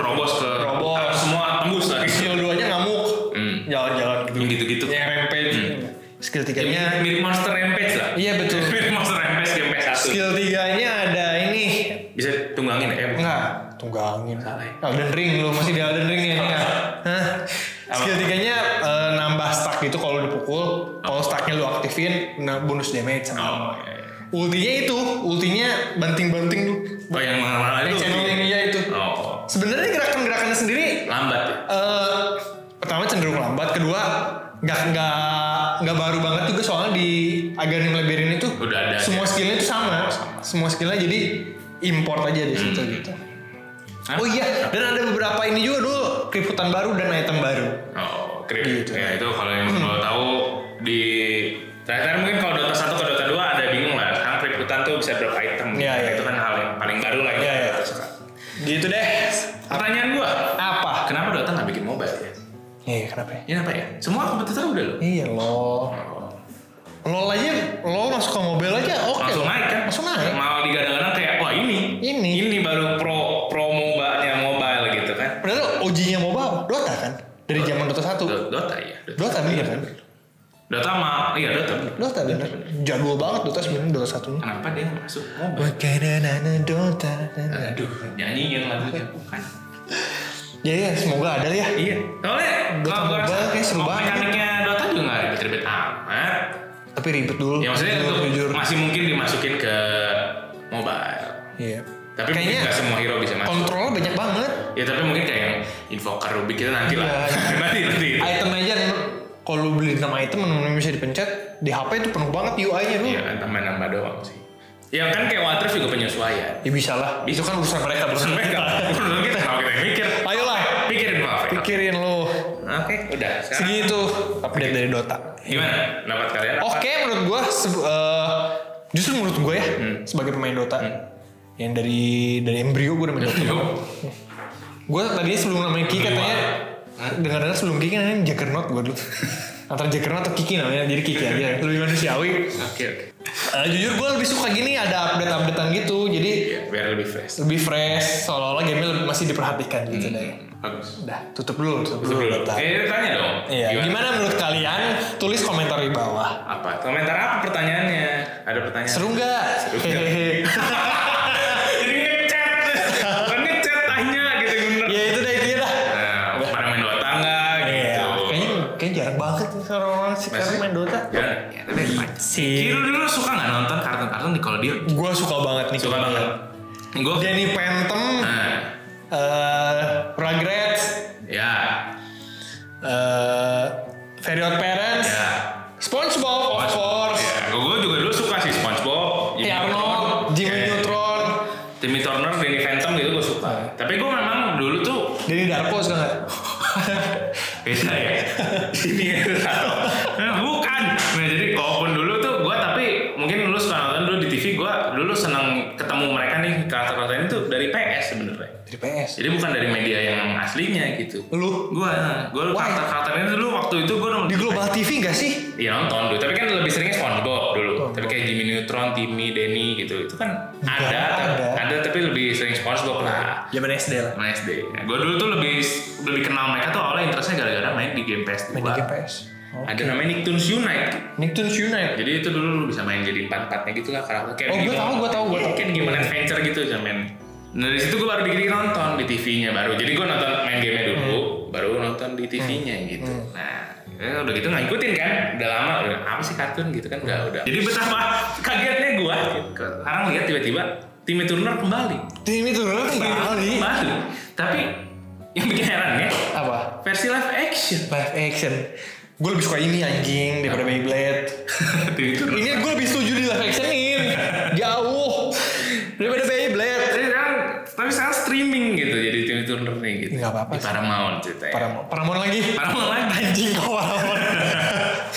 [SPEAKER 2] robos ke
[SPEAKER 3] Robos.
[SPEAKER 2] Ah, semua tembus lagi.
[SPEAKER 3] Skill 2-nya ngamuk.
[SPEAKER 2] Hmm.
[SPEAKER 3] Jalan-jalan gitu.
[SPEAKER 2] Yang gitu-gitu.
[SPEAKER 3] Yang rampage. Skill 3-nya
[SPEAKER 2] Ya, mirip Monster Rampage lah.
[SPEAKER 3] Iya, betul.
[SPEAKER 2] mirip Monster Rampage game PS1.
[SPEAKER 3] skill 3-nya ada ini.
[SPEAKER 2] Bisa tunggangin ya. Eh,
[SPEAKER 3] Enggak, tunggangin.
[SPEAKER 2] Salah ya.
[SPEAKER 3] Elden Ring lu masih di Elden Ring ya enggak. Hah? Skill 3-nya eh, nambah stack gitu kalau dipukul. Kalau stacknya lu aktifin, nah, bonus damage sama.
[SPEAKER 2] Oh, iya, iya.
[SPEAKER 3] Ultinya itu, ultinya banting-banting tuh.
[SPEAKER 2] Oh yang mana-mana itu.
[SPEAKER 3] Channel ini ya itu.
[SPEAKER 2] Oh,
[SPEAKER 3] Sebenarnya gerakan-gerakannya sendiri
[SPEAKER 2] lambat ya.
[SPEAKER 3] eh pertama cenderung lambat, kedua nggak nggak nggak baru banget juga soalnya di Aghanim Labyrinth itu
[SPEAKER 2] Udah ada,
[SPEAKER 3] semua skillnya itu sama, semua skillnya jadi import aja di situ gitu.
[SPEAKER 2] Hmm. Hah?
[SPEAKER 3] Oh iya, dan ada beberapa ini juga dulu keriputan baru dan item baru.
[SPEAKER 2] Oh, Krip.
[SPEAKER 3] Gitu.
[SPEAKER 2] Ya itu kalau yang mau tahu di terakhir mungkin kalau Dota 1 ke Dota 2 ada bingung lah. Sekarang kriptutan tuh bisa berapa item.
[SPEAKER 3] Iya, iya.
[SPEAKER 2] Itu kan hal yang paling baru lah.
[SPEAKER 3] Iya, iya. Gitu deh.
[SPEAKER 2] Pertanyaan gua,
[SPEAKER 3] Apa?
[SPEAKER 2] kenapa Dota nggak bikin mobile? Ya?
[SPEAKER 3] Iya, kenapa ya?
[SPEAKER 2] Ini apa ya? Semua kompetitor udah loh.
[SPEAKER 3] Iya lo. LOL aja, lo masuk ke mobile aja oke
[SPEAKER 2] Langsung
[SPEAKER 3] lo.
[SPEAKER 2] naik kan?
[SPEAKER 3] Oh, Langsung naik.
[SPEAKER 2] Mau digadang-gadang kayak wah ini.
[SPEAKER 3] Ini.
[SPEAKER 2] Ini baru pro pro mobanya mobile gitu kan.
[SPEAKER 3] Padahal OG-nya MOBA apa? Dota kan? Dari zaman Dota 1.
[SPEAKER 2] Do- Dota ya.
[SPEAKER 3] Dota bener kan?
[SPEAKER 2] Dota mah iya Dota. bener.
[SPEAKER 3] Dota bener. Jago kan? banget Dota sebenarnya Dota 1 nya.
[SPEAKER 2] Kenapa dia nggak masuk mobile?
[SPEAKER 3] Wakanana Dota.
[SPEAKER 2] Aduh, nyanyiin lagunya bukan.
[SPEAKER 3] Ya ya, semoga ada ya.
[SPEAKER 2] Iya. Soalnya
[SPEAKER 3] Dota
[SPEAKER 2] kalau gue
[SPEAKER 3] mobile kayak seru banget.
[SPEAKER 2] mekaniknya Dota juga nggak ribet-ribet amat.
[SPEAKER 3] Tapi ribet dulu.
[SPEAKER 2] Ya maksudnya
[SPEAKER 3] Jujur,
[SPEAKER 2] itu
[SPEAKER 3] jujur.
[SPEAKER 2] masih mungkin dimasukin ke mobile.
[SPEAKER 3] Iya.
[SPEAKER 2] Tapi mungkin
[SPEAKER 3] kayaknya
[SPEAKER 2] nggak semua hero bisa masuk.
[SPEAKER 3] kontrolnya banyak banget.
[SPEAKER 2] Ya tapi mungkin kayak yang invoker Rubik itu nanti lah.
[SPEAKER 3] Iya.
[SPEAKER 2] nanti nanti.
[SPEAKER 3] Item aja nih, lu- kalau lu beli 6 item yang bisa dipencet di HP itu penuh banget UI-nya lu.
[SPEAKER 2] Iya kan tambah-nambah doang sih. Ya kan kayak Watrif juga penyesuaian.
[SPEAKER 3] Ya bisa lah. Itu kan urusan mereka,
[SPEAKER 2] Terus
[SPEAKER 3] urusan
[SPEAKER 2] mereka, menurut kita kalau kita yang mikir,
[SPEAKER 3] Iya. Ayolah,
[SPEAKER 2] pikirin maaf ya.
[SPEAKER 3] pikirin lu.
[SPEAKER 2] Oke, udah. Sekarang
[SPEAKER 3] Segitu update dari Dota.
[SPEAKER 2] gimana pendapat kalian? Apa?
[SPEAKER 3] Oke menurut gue justru menurut gue ya sebagai pemain Dota yang dari dari embrio gue udah main Dota.
[SPEAKER 2] Yuk.
[SPEAKER 3] gue tadinya sebelum namanya Ki katanya ah, dengar-dengar sebelum Kiki namanya Juggernaut gue dulu antara Juggernaut atau Kiki namanya jadi Kiki aja lebih manusiawi.
[SPEAKER 2] Oke, oke.
[SPEAKER 3] Eh, jujur gue lebih suka gini ada update-updatean gitu jadi
[SPEAKER 2] Iya, biar lebih fresh.
[SPEAKER 3] lebih fresh seolah-olah game masih diperhatikan gitu deh.
[SPEAKER 2] Bagus.
[SPEAKER 3] Udah tutup dulu
[SPEAKER 2] Terus
[SPEAKER 3] tutup
[SPEAKER 2] Hmm. dulu.
[SPEAKER 3] dulu Dota.
[SPEAKER 2] Eh, tanya dong.
[SPEAKER 3] Iya. Gimana menurut kalian? Tulis komentar di bawah.
[SPEAKER 2] Apa? Komentar apa pertanyaannya? Ada pertanyaan?
[SPEAKER 3] Seru nggak?
[SPEAKER 2] Seru nggak?
[SPEAKER 3] Hehehe.
[SPEAKER 2] Jadi ngechat. Bukan ngechat tanya gitu bener.
[SPEAKER 3] ya itu deh intinya dah.
[SPEAKER 2] Nah, pada main Dota nggak
[SPEAKER 3] Iya.
[SPEAKER 2] gitu.
[SPEAKER 3] Kayaknya kayaknya jarang banget nih sekarang orang sekarang
[SPEAKER 2] Masih-
[SPEAKER 3] main Dota. Iya.
[SPEAKER 2] Ya, ya, tapi
[SPEAKER 3] Si
[SPEAKER 2] Kiro dulu suka nggak nonton kartun-kartun di Nickelodeon?
[SPEAKER 3] gue suka banget nih.
[SPEAKER 2] Suka banget. Gue
[SPEAKER 3] Danny Phantom,
[SPEAKER 2] Nah,
[SPEAKER 3] eh Regrets,
[SPEAKER 2] ya,
[SPEAKER 3] eh Fairy Parents,
[SPEAKER 2] ya.
[SPEAKER 3] SpongeBob, of course,
[SPEAKER 2] Gue juga dulu suka sih SpongeBob,
[SPEAKER 3] Hey
[SPEAKER 2] Jimmy
[SPEAKER 3] Arnold,
[SPEAKER 2] Neutron.
[SPEAKER 3] Ya, Jimmy
[SPEAKER 2] Kayak
[SPEAKER 3] Neutron,
[SPEAKER 2] Timmy Turner, Danny Phantom gitu gue suka. Tapi gue memang dulu tuh
[SPEAKER 3] Danny Darko suka nggak?
[SPEAKER 2] beda ya. Ini ya, nah, bukan. Nah jadi kalaupun dulu tuh gue tapi mungkin lu suka nonton dulu di TV gue dulu seneng ketemu mereka nih karakter-karakter ini tuh dari PS sebenarnya.
[SPEAKER 3] Dari PS.
[SPEAKER 2] Jadi bukan dari media yang aslinya gitu.
[SPEAKER 3] Lu
[SPEAKER 2] Gue, gue
[SPEAKER 3] Why?
[SPEAKER 2] karakter-karakter ini dulu waktu itu gue
[SPEAKER 3] di Global TV nggak sih?
[SPEAKER 2] Iya nonton dulu, tapi kan lebih seringnya SpongeBob dulu. Tapi kayak Jimmy Neutron, Timmy, Denny gitu, itu kan
[SPEAKER 3] Nggak
[SPEAKER 2] ada,
[SPEAKER 3] ada.
[SPEAKER 2] ada, tapi lebih sering SpongeBob lah.
[SPEAKER 3] Zaman SD lah.
[SPEAKER 2] Sama SD. gue dulu tuh lebih lebih kenal mereka tuh awalnya interestnya gara-gara main di game PS2.
[SPEAKER 3] Main di game PS. Oh.
[SPEAKER 2] Ada namanya Nicktoons Unite.
[SPEAKER 3] Nicktoons Unite.
[SPEAKER 2] Jadi itu dulu lu bisa main jadi empat empatnya gitu lah karakter. Kayak
[SPEAKER 3] Oh, gua
[SPEAKER 2] Digimon.
[SPEAKER 3] tahu, gua tahu, gua
[SPEAKER 2] Iya,
[SPEAKER 3] tahu.
[SPEAKER 2] Kayak gimana adventure gitu zaman. Nah dari situ gue baru dikit nonton di TV-nya baru. Jadi gue nonton main gamenya dulu, baru nonton di TV-nya gitu. Nah ya udah gitu ngikutin kan, udah lama udah apa sih kartun gitu kan udah udah. Jadi betapa kagetnya gue. Sekarang lihat tiba-tiba Timmy Turner kembali.
[SPEAKER 3] Tim itu dulu kembali.
[SPEAKER 2] Kembali. Tapi yang bikin heran ya
[SPEAKER 3] Apa?
[SPEAKER 2] versi live action.
[SPEAKER 3] live action gue lebih suka ini anjing daripada Beyblade
[SPEAKER 2] Timmy Turner.
[SPEAKER 3] ini gue lebih setuju di live actionin jauh daripada Beyblade
[SPEAKER 2] Tapi sekarang, tapi sekarang streaming gitu jadi Timmy Turner nih gitu.
[SPEAKER 3] Nggak apa-apa
[SPEAKER 2] Di
[SPEAKER 3] sih.
[SPEAKER 2] Paramount ceritanya.
[SPEAKER 3] Paramount Paramount lagi
[SPEAKER 2] Paramount lagi.
[SPEAKER 3] anjing kau Paramount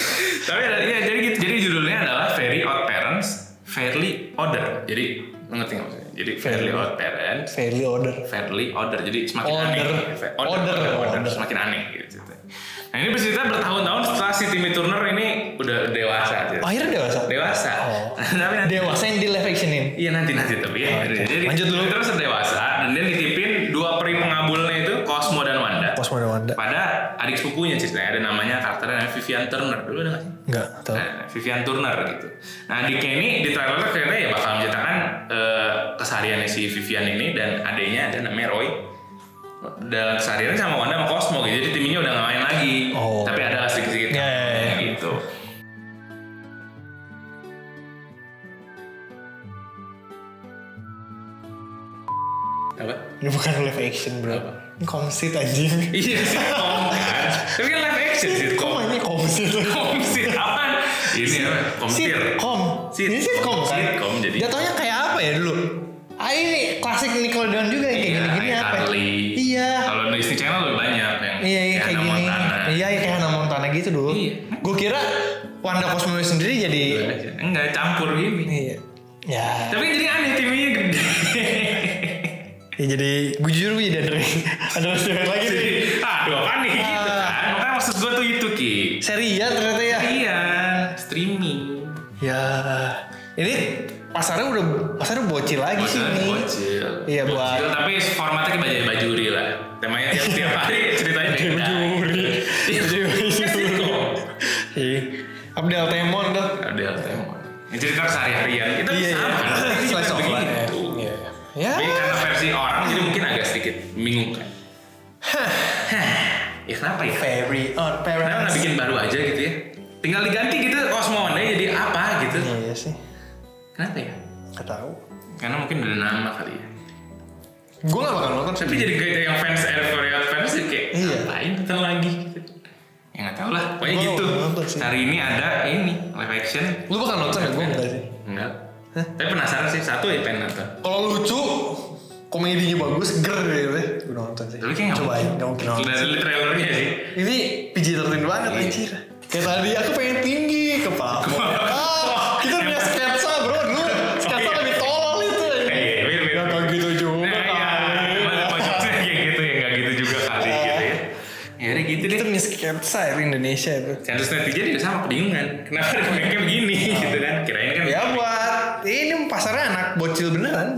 [SPEAKER 2] tapi ada- iya jadi gitu. Jadi judulnya adalah Very Odd Parents, Fairly Order. Jadi ngerti nggak maksudnya? Jadi Fairly Odd Parents,
[SPEAKER 3] fairly order
[SPEAKER 2] Fairly Order. Jadi semakin aneh.
[SPEAKER 3] Order.
[SPEAKER 2] Fa-
[SPEAKER 3] Order. Order.
[SPEAKER 2] Semakin aneh gitu ceritanya. Nah ini bercerita bertahun-tahun setelah si Timmy Turner ini udah dewasa. ceritanya.
[SPEAKER 3] akhirnya dewasa
[SPEAKER 2] Dewasa.
[SPEAKER 3] Oh.
[SPEAKER 2] tapi nanti
[SPEAKER 3] dewasa yang di live actionin
[SPEAKER 2] Iya nanti nanti tapi ya.
[SPEAKER 3] Oke.
[SPEAKER 2] Jadi
[SPEAKER 3] Lanjut dulu.
[SPEAKER 2] Terus dewasa dan dia nitipin dua peri pengabulnya itu Cosmo dan Wanda.
[SPEAKER 3] Cosmo dan Wanda
[SPEAKER 2] Pada adik sepupunya ceritanya ada namanya karakternya namanya Vivian Turner dulu ada nggak sih?
[SPEAKER 3] enggak tau
[SPEAKER 2] Nah, Vivian Turner gitu. Nah di ini di trailer ternyata ya bakal menceritakan eh, kesehariannya si Vivian ini dan adanya ada namanya Roy. Dan kesehariannya sama Wanda sama Cosmo gitu. Jadi timnya udah nggak main lagi.
[SPEAKER 3] Oh.
[SPEAKER 2] Tapi ada sedikit-sedikit
[SPEAKER 3] Ya, ya, ya.
[SPEAKER 2] gitu. Apa?
[SPEAKER 3] ini bukan live action bro
[SPEAKER 2] Apa?
[SPEAKER 3] ini komsit anjing
[SPEAKER 2] Iya sitcom kan. Tapi kan live action
[SPEAKER 3] kok
[SPEAKER 2] sitcom.
[SPEAKER 3] mainnya komsit
[SPEAKER 2] Komsit apa? Ini apa? Komtir.
[SPEAKER 3] sitcom
[SPEAKER 2] Sit-
[SPEAKER 3] ini sitcom kan
[SPEAKER 2] sitcom jadi.
[SPEAKER 3] jatuhnya kayak apa ya dulu ah ini klasik Nickelodeon juga yang kayak
[SPEAKER 2] Iya,
[SPEAKER 3] gini-gini apa ya?
[SPEAKER 2] iCarly.
[SPEAKER 3] iya
[SPEAKER 2] Kalau di Disney Channel lebih banyak yang
[SPEAKER 3] Iya, iya kayak
[SPEAKER 2] Hannah
[SPEAKER 3] gini.
[SPEAKER 2] Montana.
[SPEAKER 3] Iya, iya kayak Hannah gitu dulu.
[SPEAKER 2] Iya.
[SPEAKER 3] Gue kira Wanda Cosmo sendiri jadi
[SPEAKER 2] Enggak campur gini.
[SPEAKER 3] iya. Ya.
[SPEAKER 2] Tapi jadi aneh timnya gede.
[SPEAKER 3] ya jadi gue jujur gue jadi ada ada estimate lagi nih.
[SPEAKER 2] Aduh apa nih gitu
[SPEAKER 3] Ah.
[SPEAKER 2] kan. Makanya maksud gue tuh itu Ki.
[SPEAKER 3] Seri ya ternyata ya.
[SPEAKER 2] Iya, streaming.
[SPEAKER 3] Ya. Ini pasarnya udah pasarnya bocil lagi sih
[SPEAKER 2] Bocil,
[SPEAKER 3] nih.
[SPEAKER 2] bocil.
[SPEAKER 3] Iya, buat-
[SPEAKER 2] Bocil, tapi formatnya kayak bajai bajuri lah. Temanya tiap tiap hari ceritanya beda.
[SPEAKER 3] Bajuri.
[SPEAKER 2] Iya,
[SPEAKER 3] Bajuri.
[SPEAKER 2] sitcom.
[SPEAKER 3] Iya. Abdel Temon tuh.
[SPEAKER 2] Ada tema. Ini cerita sehari-harian. Kita
[SPEAKER 3] Iya,
[SPEAKER 2] sama
[SPEAKER 3] iya.
[SPEAKER 2] kan. Ini
[SPEAKER 3] Slice of
[SPEAKER 2] begini.
[SPEAKER 3] life.
[SPEAKER 2] Tuh.
[SPEAKER 3] Iya. Ya.
[SPEAKER 2] Tapi karena versi orang jadi mungkin agak sedikit membingungkan. Hah. ya kenapa ya?
[SPEAKER 3] Very on
[SPEAKER 2] Kenapa nggak
[SPEAKER 3] parents.
[SPEAKER 2] bikin baru aja gitu ya? Tinggal diganti gitu Osmonde jadi apa gitu?
[SPEAKER 3] Iya iya sih.
[SPEAKER 2] Kenapa ya?
[SPEAKER 3] Gak tau.
[SPEAKER 2] Karena mungkin udah nama kali ya.
[SPEAKER 3] Gue gak bakal nonton
[SPEAKER 2] tapi jadi kayak yang fans air Korea fans tuh kayak
[SPEAKER 3] Iya.
[SPEAKER 2] ngapain nonton lagi gitu ya nggak tau lah pokoknya
[SPEAKER 3] Gua
[SPEAKER 2] gitu
[SPEAKER 3] nggak nonton sih.
[SPEAKER 2] hari ini ada ini live action
[SPEAKER 3] Lu bakal nonton ya? Gue enggak sih.
[SPEAKER 2] enggak tapi penasaran sih satu ya pengen nonton
[SPEAKER 3] Kalau lucu, komedinya bagus, ger gitu ya. Gue nonton sih.
[SPEAKER 2] tapi kayak nggak
[SPEAKER 3] Coba aja, gak mungkin nonton.
[SPEAKER 2] dari trailernya sih
[SPEAKER 3] Ini PG-13 banget
[SPEAKER 2] Iya.
[SPEAKER 3] anjir. Kayak tadi aku pengen tinggi ke plafon. Ah, kita punya sketsa bro dulu. Sketsa lebih tolol itu.
[SPEAKER 2] Iya, mirip, mirip.
[SPEAKER 3] Gak kayak gitu juga.
[SPEAKER 2] Nah, iya, cuma
[SPEAKER 3] kali.
[SPEAKER 2] ada pojoknya kayak gitu ya nggak gitu juga kali
[SPEAKER 3] Eh.
[SPEAKER 2] gitu ya ya udah gitu deh
[SPEAKER 3] Kita punya sketsa ya, di Indonesia itu.
[SPEAKER 2] Sensus netizen juga sama kebingungan kenapa remake begini gitu kan kirain kan
[SPEAKER 3] Eh. Ya buat ini pasarnya anak bocil beneran,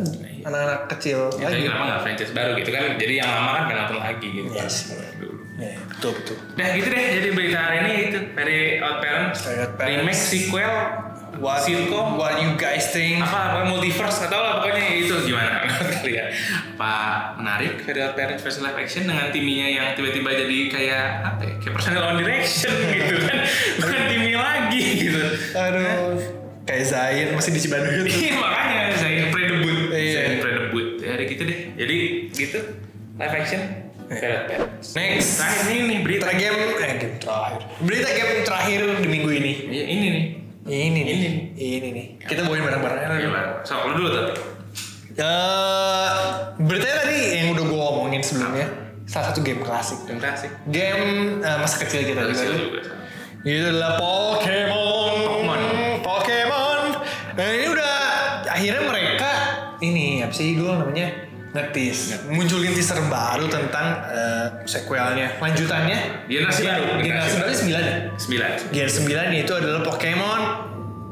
[SPEAKER 3] anak-anak kecil
[SPEAKER 2] Ya, tapi
[SPEAKER 3] lagi.
[SPEAKER 2] kenapa nggak franchise baru gitu kan jadi yang lama kan pengen nonton lagi gitu
[SPEAKER 3] Iya sih.
[SPEAKER 2] Dulu.
[SPEAKER 3] Ya, betul betul.
[SPEAKER 2] Nah gitu deh, jadi berita hari ini itu dari Out Parents,
[SPEAKER 3] Dari Odd Parents.
[SPEAKER 2] remake, sequel,
[SPEAKER 3] What,
[SPEAKER 2] sitcom,
[SPEAKER 3] what you guys think?
[SPEAKER 2] apa apa multiverse atau lah pokoknya itu gimana kalian apa menarik dari Odd Parents versi live action dengan timnya yang tiba-tiba jadi kayak apa ya kayak personal on direction gitu kan bukan timnya lagi gitu
[SPEAKER 3] Aduh, kayak Zain masih di gitu. Cibaduyut.
[SPEAKER 2] Iya, makanya saya pre-debut
[SPEAKER 3] Iya.
[SPEAKER 2] saya pre-debut dari gitu deh jadi gitu live action dari Odd Parents
[SPEAKER 3] Next.
[SPEAKER 2] terakhir ini nih berita
[SPEAKER 3] Berita game, eh game terakhir. Berita game terakhir di minggu ini.
[SPEAKER 2] Iya, ini nih
[SPEAKER 3] Ini nih.
[SPEAKER 2] Ini
[SPEAKER 3] Ini nih. Kita bawain bareng-bareng. aja.
[SPEAKER 2] Iya, Bang. sok lu dulu tapi
[SPEAKER 3] Eh, beritanya tadi yang udah gue omongin sebelumnya, salah satu game klasik.
[SPEAKER 2] Terima kasih.
[SPEAKER 3] Game eh, masa kecil kita
[SPEAKER 2] Dari
[SPEAKER 3] juga.
[SPEAKER 2] situ
[SPEAKER 3] tuh.
[SPEAKER 2] juga.
[SPEAKER 3] Itu adalah Pokemon.
[SPEAKER 2] Pokemon.
[SPEAKER 3] Pokemon. Nah, ini udah akhirnya mereka ini apa sih gue namanya ngetis munculin teaser baru tentang eh, sequelnya lanjutannya
[SPEAKER 2] Generasi baru.
[SPEAKER 3] generasi Iya, baru sembilan ya?
[SPEAKER 2] Sembilan.
[SPEAKER 3] Gen 9 itu adalah Pokemon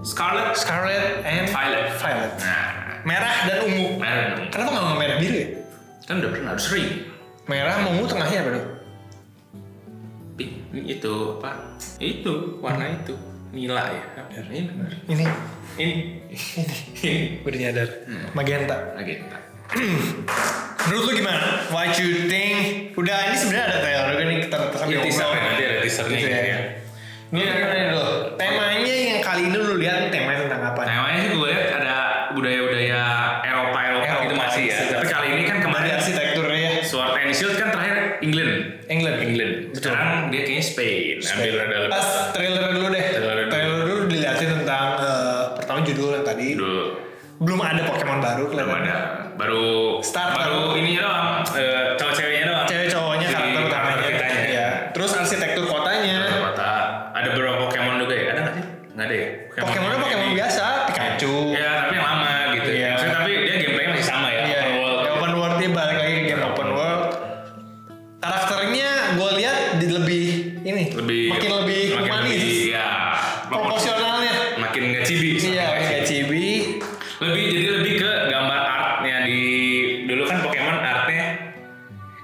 [SPEAKER 2] Scarlet.
[SPEAKER 3] Scarlet and
[SPEAKER 2] Violet.
[SPEAKER 3] Violet.
[SPEAKER 2] Nah,
[SPEAKER 3] Merah dan ungu.
[SPEAKER 2] kemarin
[SPEAKER 3] Kenapa nggak ngomong merah biru ya?
[SPEAKER 2] kan udah pernah harus sering.
[SPEAKER 3] Merah sama ungu tengahnya apa dong?
[SPEAKER 2] Pink. Ini Itu apa? Itu warna itu nila ya. Ini benar.
[SPEAKER 3] Ini
[SPEAKER 2] Ini. Ini.
[SPEAKER 3] gue udah nyadar.
[SPEAKER 2] Hmm.
[SPEAKER 3] Magenta.
[SPEAKER 2] Lagi. tak.
[SPEAKER 3] Menurut lu gimana? What you think? Udah ini sebenarnya ada trailer juga nih kita tetap
[SPEAKER 2] Ini teaser ya, nanti ada teasernya
[SPEAKER 3] Gitu ya.
[SPEAKER 2] gitu ya.
[SPEAKER 3] Lu
[SPEAKER 2] Iya.
[SPEAKER 3] gimana nih lo? Temanya yang kali ini lu lihat temanya tentang apa?
[SPEAKER 2] Nah, emangnya sih gue lihat ada budaya-budaya Eropa Eropa
[SPEAKER 3] Eropa,
[SPEAKER 2] gitu masih ya.
[SPEAKER 3] iya.
[SPEAKER 2] Tapi kali ini kan
[SPEAKER 3] Dari
[SPEAKER 2] kemarin
[SPEAKER 3] arsitekturnya ya.
[SPEAKER 2] Sword and Shield kan terakhir England.
[SPEAKER 3] England.
[SPEAKER 2] England. Sekarang dia kayaknya Spain. Ambil ada lebih
[SPEAKER 3] Pas trailer dulu deh.
[SPEAKER 2] Trailer dulu.
[SPEAKER 3] Trailer dulu dilihatin tentang eh, pertama judul yang tadi.
[SPEAKER 2] dulu.
[SPEAKER 3] belum ada Pokemon baru
[SPEAKER 2] belum
[SPEAKER 3] kelihatan.
[SPEAKER 2] ada baru
[SPEAKER 3] Start.
[SPEAKER 2] baru ininya doang eh, cowok ceweknya doang
[SPEAKER 3] Cewek cowoknya
[SPEAKER 2] Jadi,
[SPEAKER 3] karakter utamanya.
[SPEAKER 2] kitanya.
[SPEAKER 3] Iya. Terus arsitektur kotanya.
[SPEAKER 2] Kota. ada beberapa Pokemon juga ya ada nggak sih nggak ada ya
[SPEAKER 3] Pokemonnya Pokemon biasa, Pikachu.
[SPEAKER 2] ya tapi yang lama gitu
[SPEAKER 3] Iya.
[SPEAKER 2] ya tapi dia gameplaynya masih sama ya
[SPEAKER 3] Iya.
[SPEAKER 2] open world
[SPEAKER 3] ya, Open world dia balik lagi ke game open world. Karakternya gue lihat di lebih ini
[SPEAKER 2] lebih
[SPEAKER 3] makin lebih
[SPEAKER 2] makin
[SPEAKER 3] humanis.
[SPEAKER 2] lebih, ya
[SPEAKER 3] Proporsionalnya.
[SPEAKER 2] makin nggak cibi
[SPEAKER 3] Iya,
[SPEAKER 2] makin nggak
[SPEAKER 3] kayak
[SPEAKER 2] cibi.
[SPEAKER 3] Chibi.
[SPEAKER 2] lebih jadi lebih ke gambar artnya di dulu kan Pokemon artnya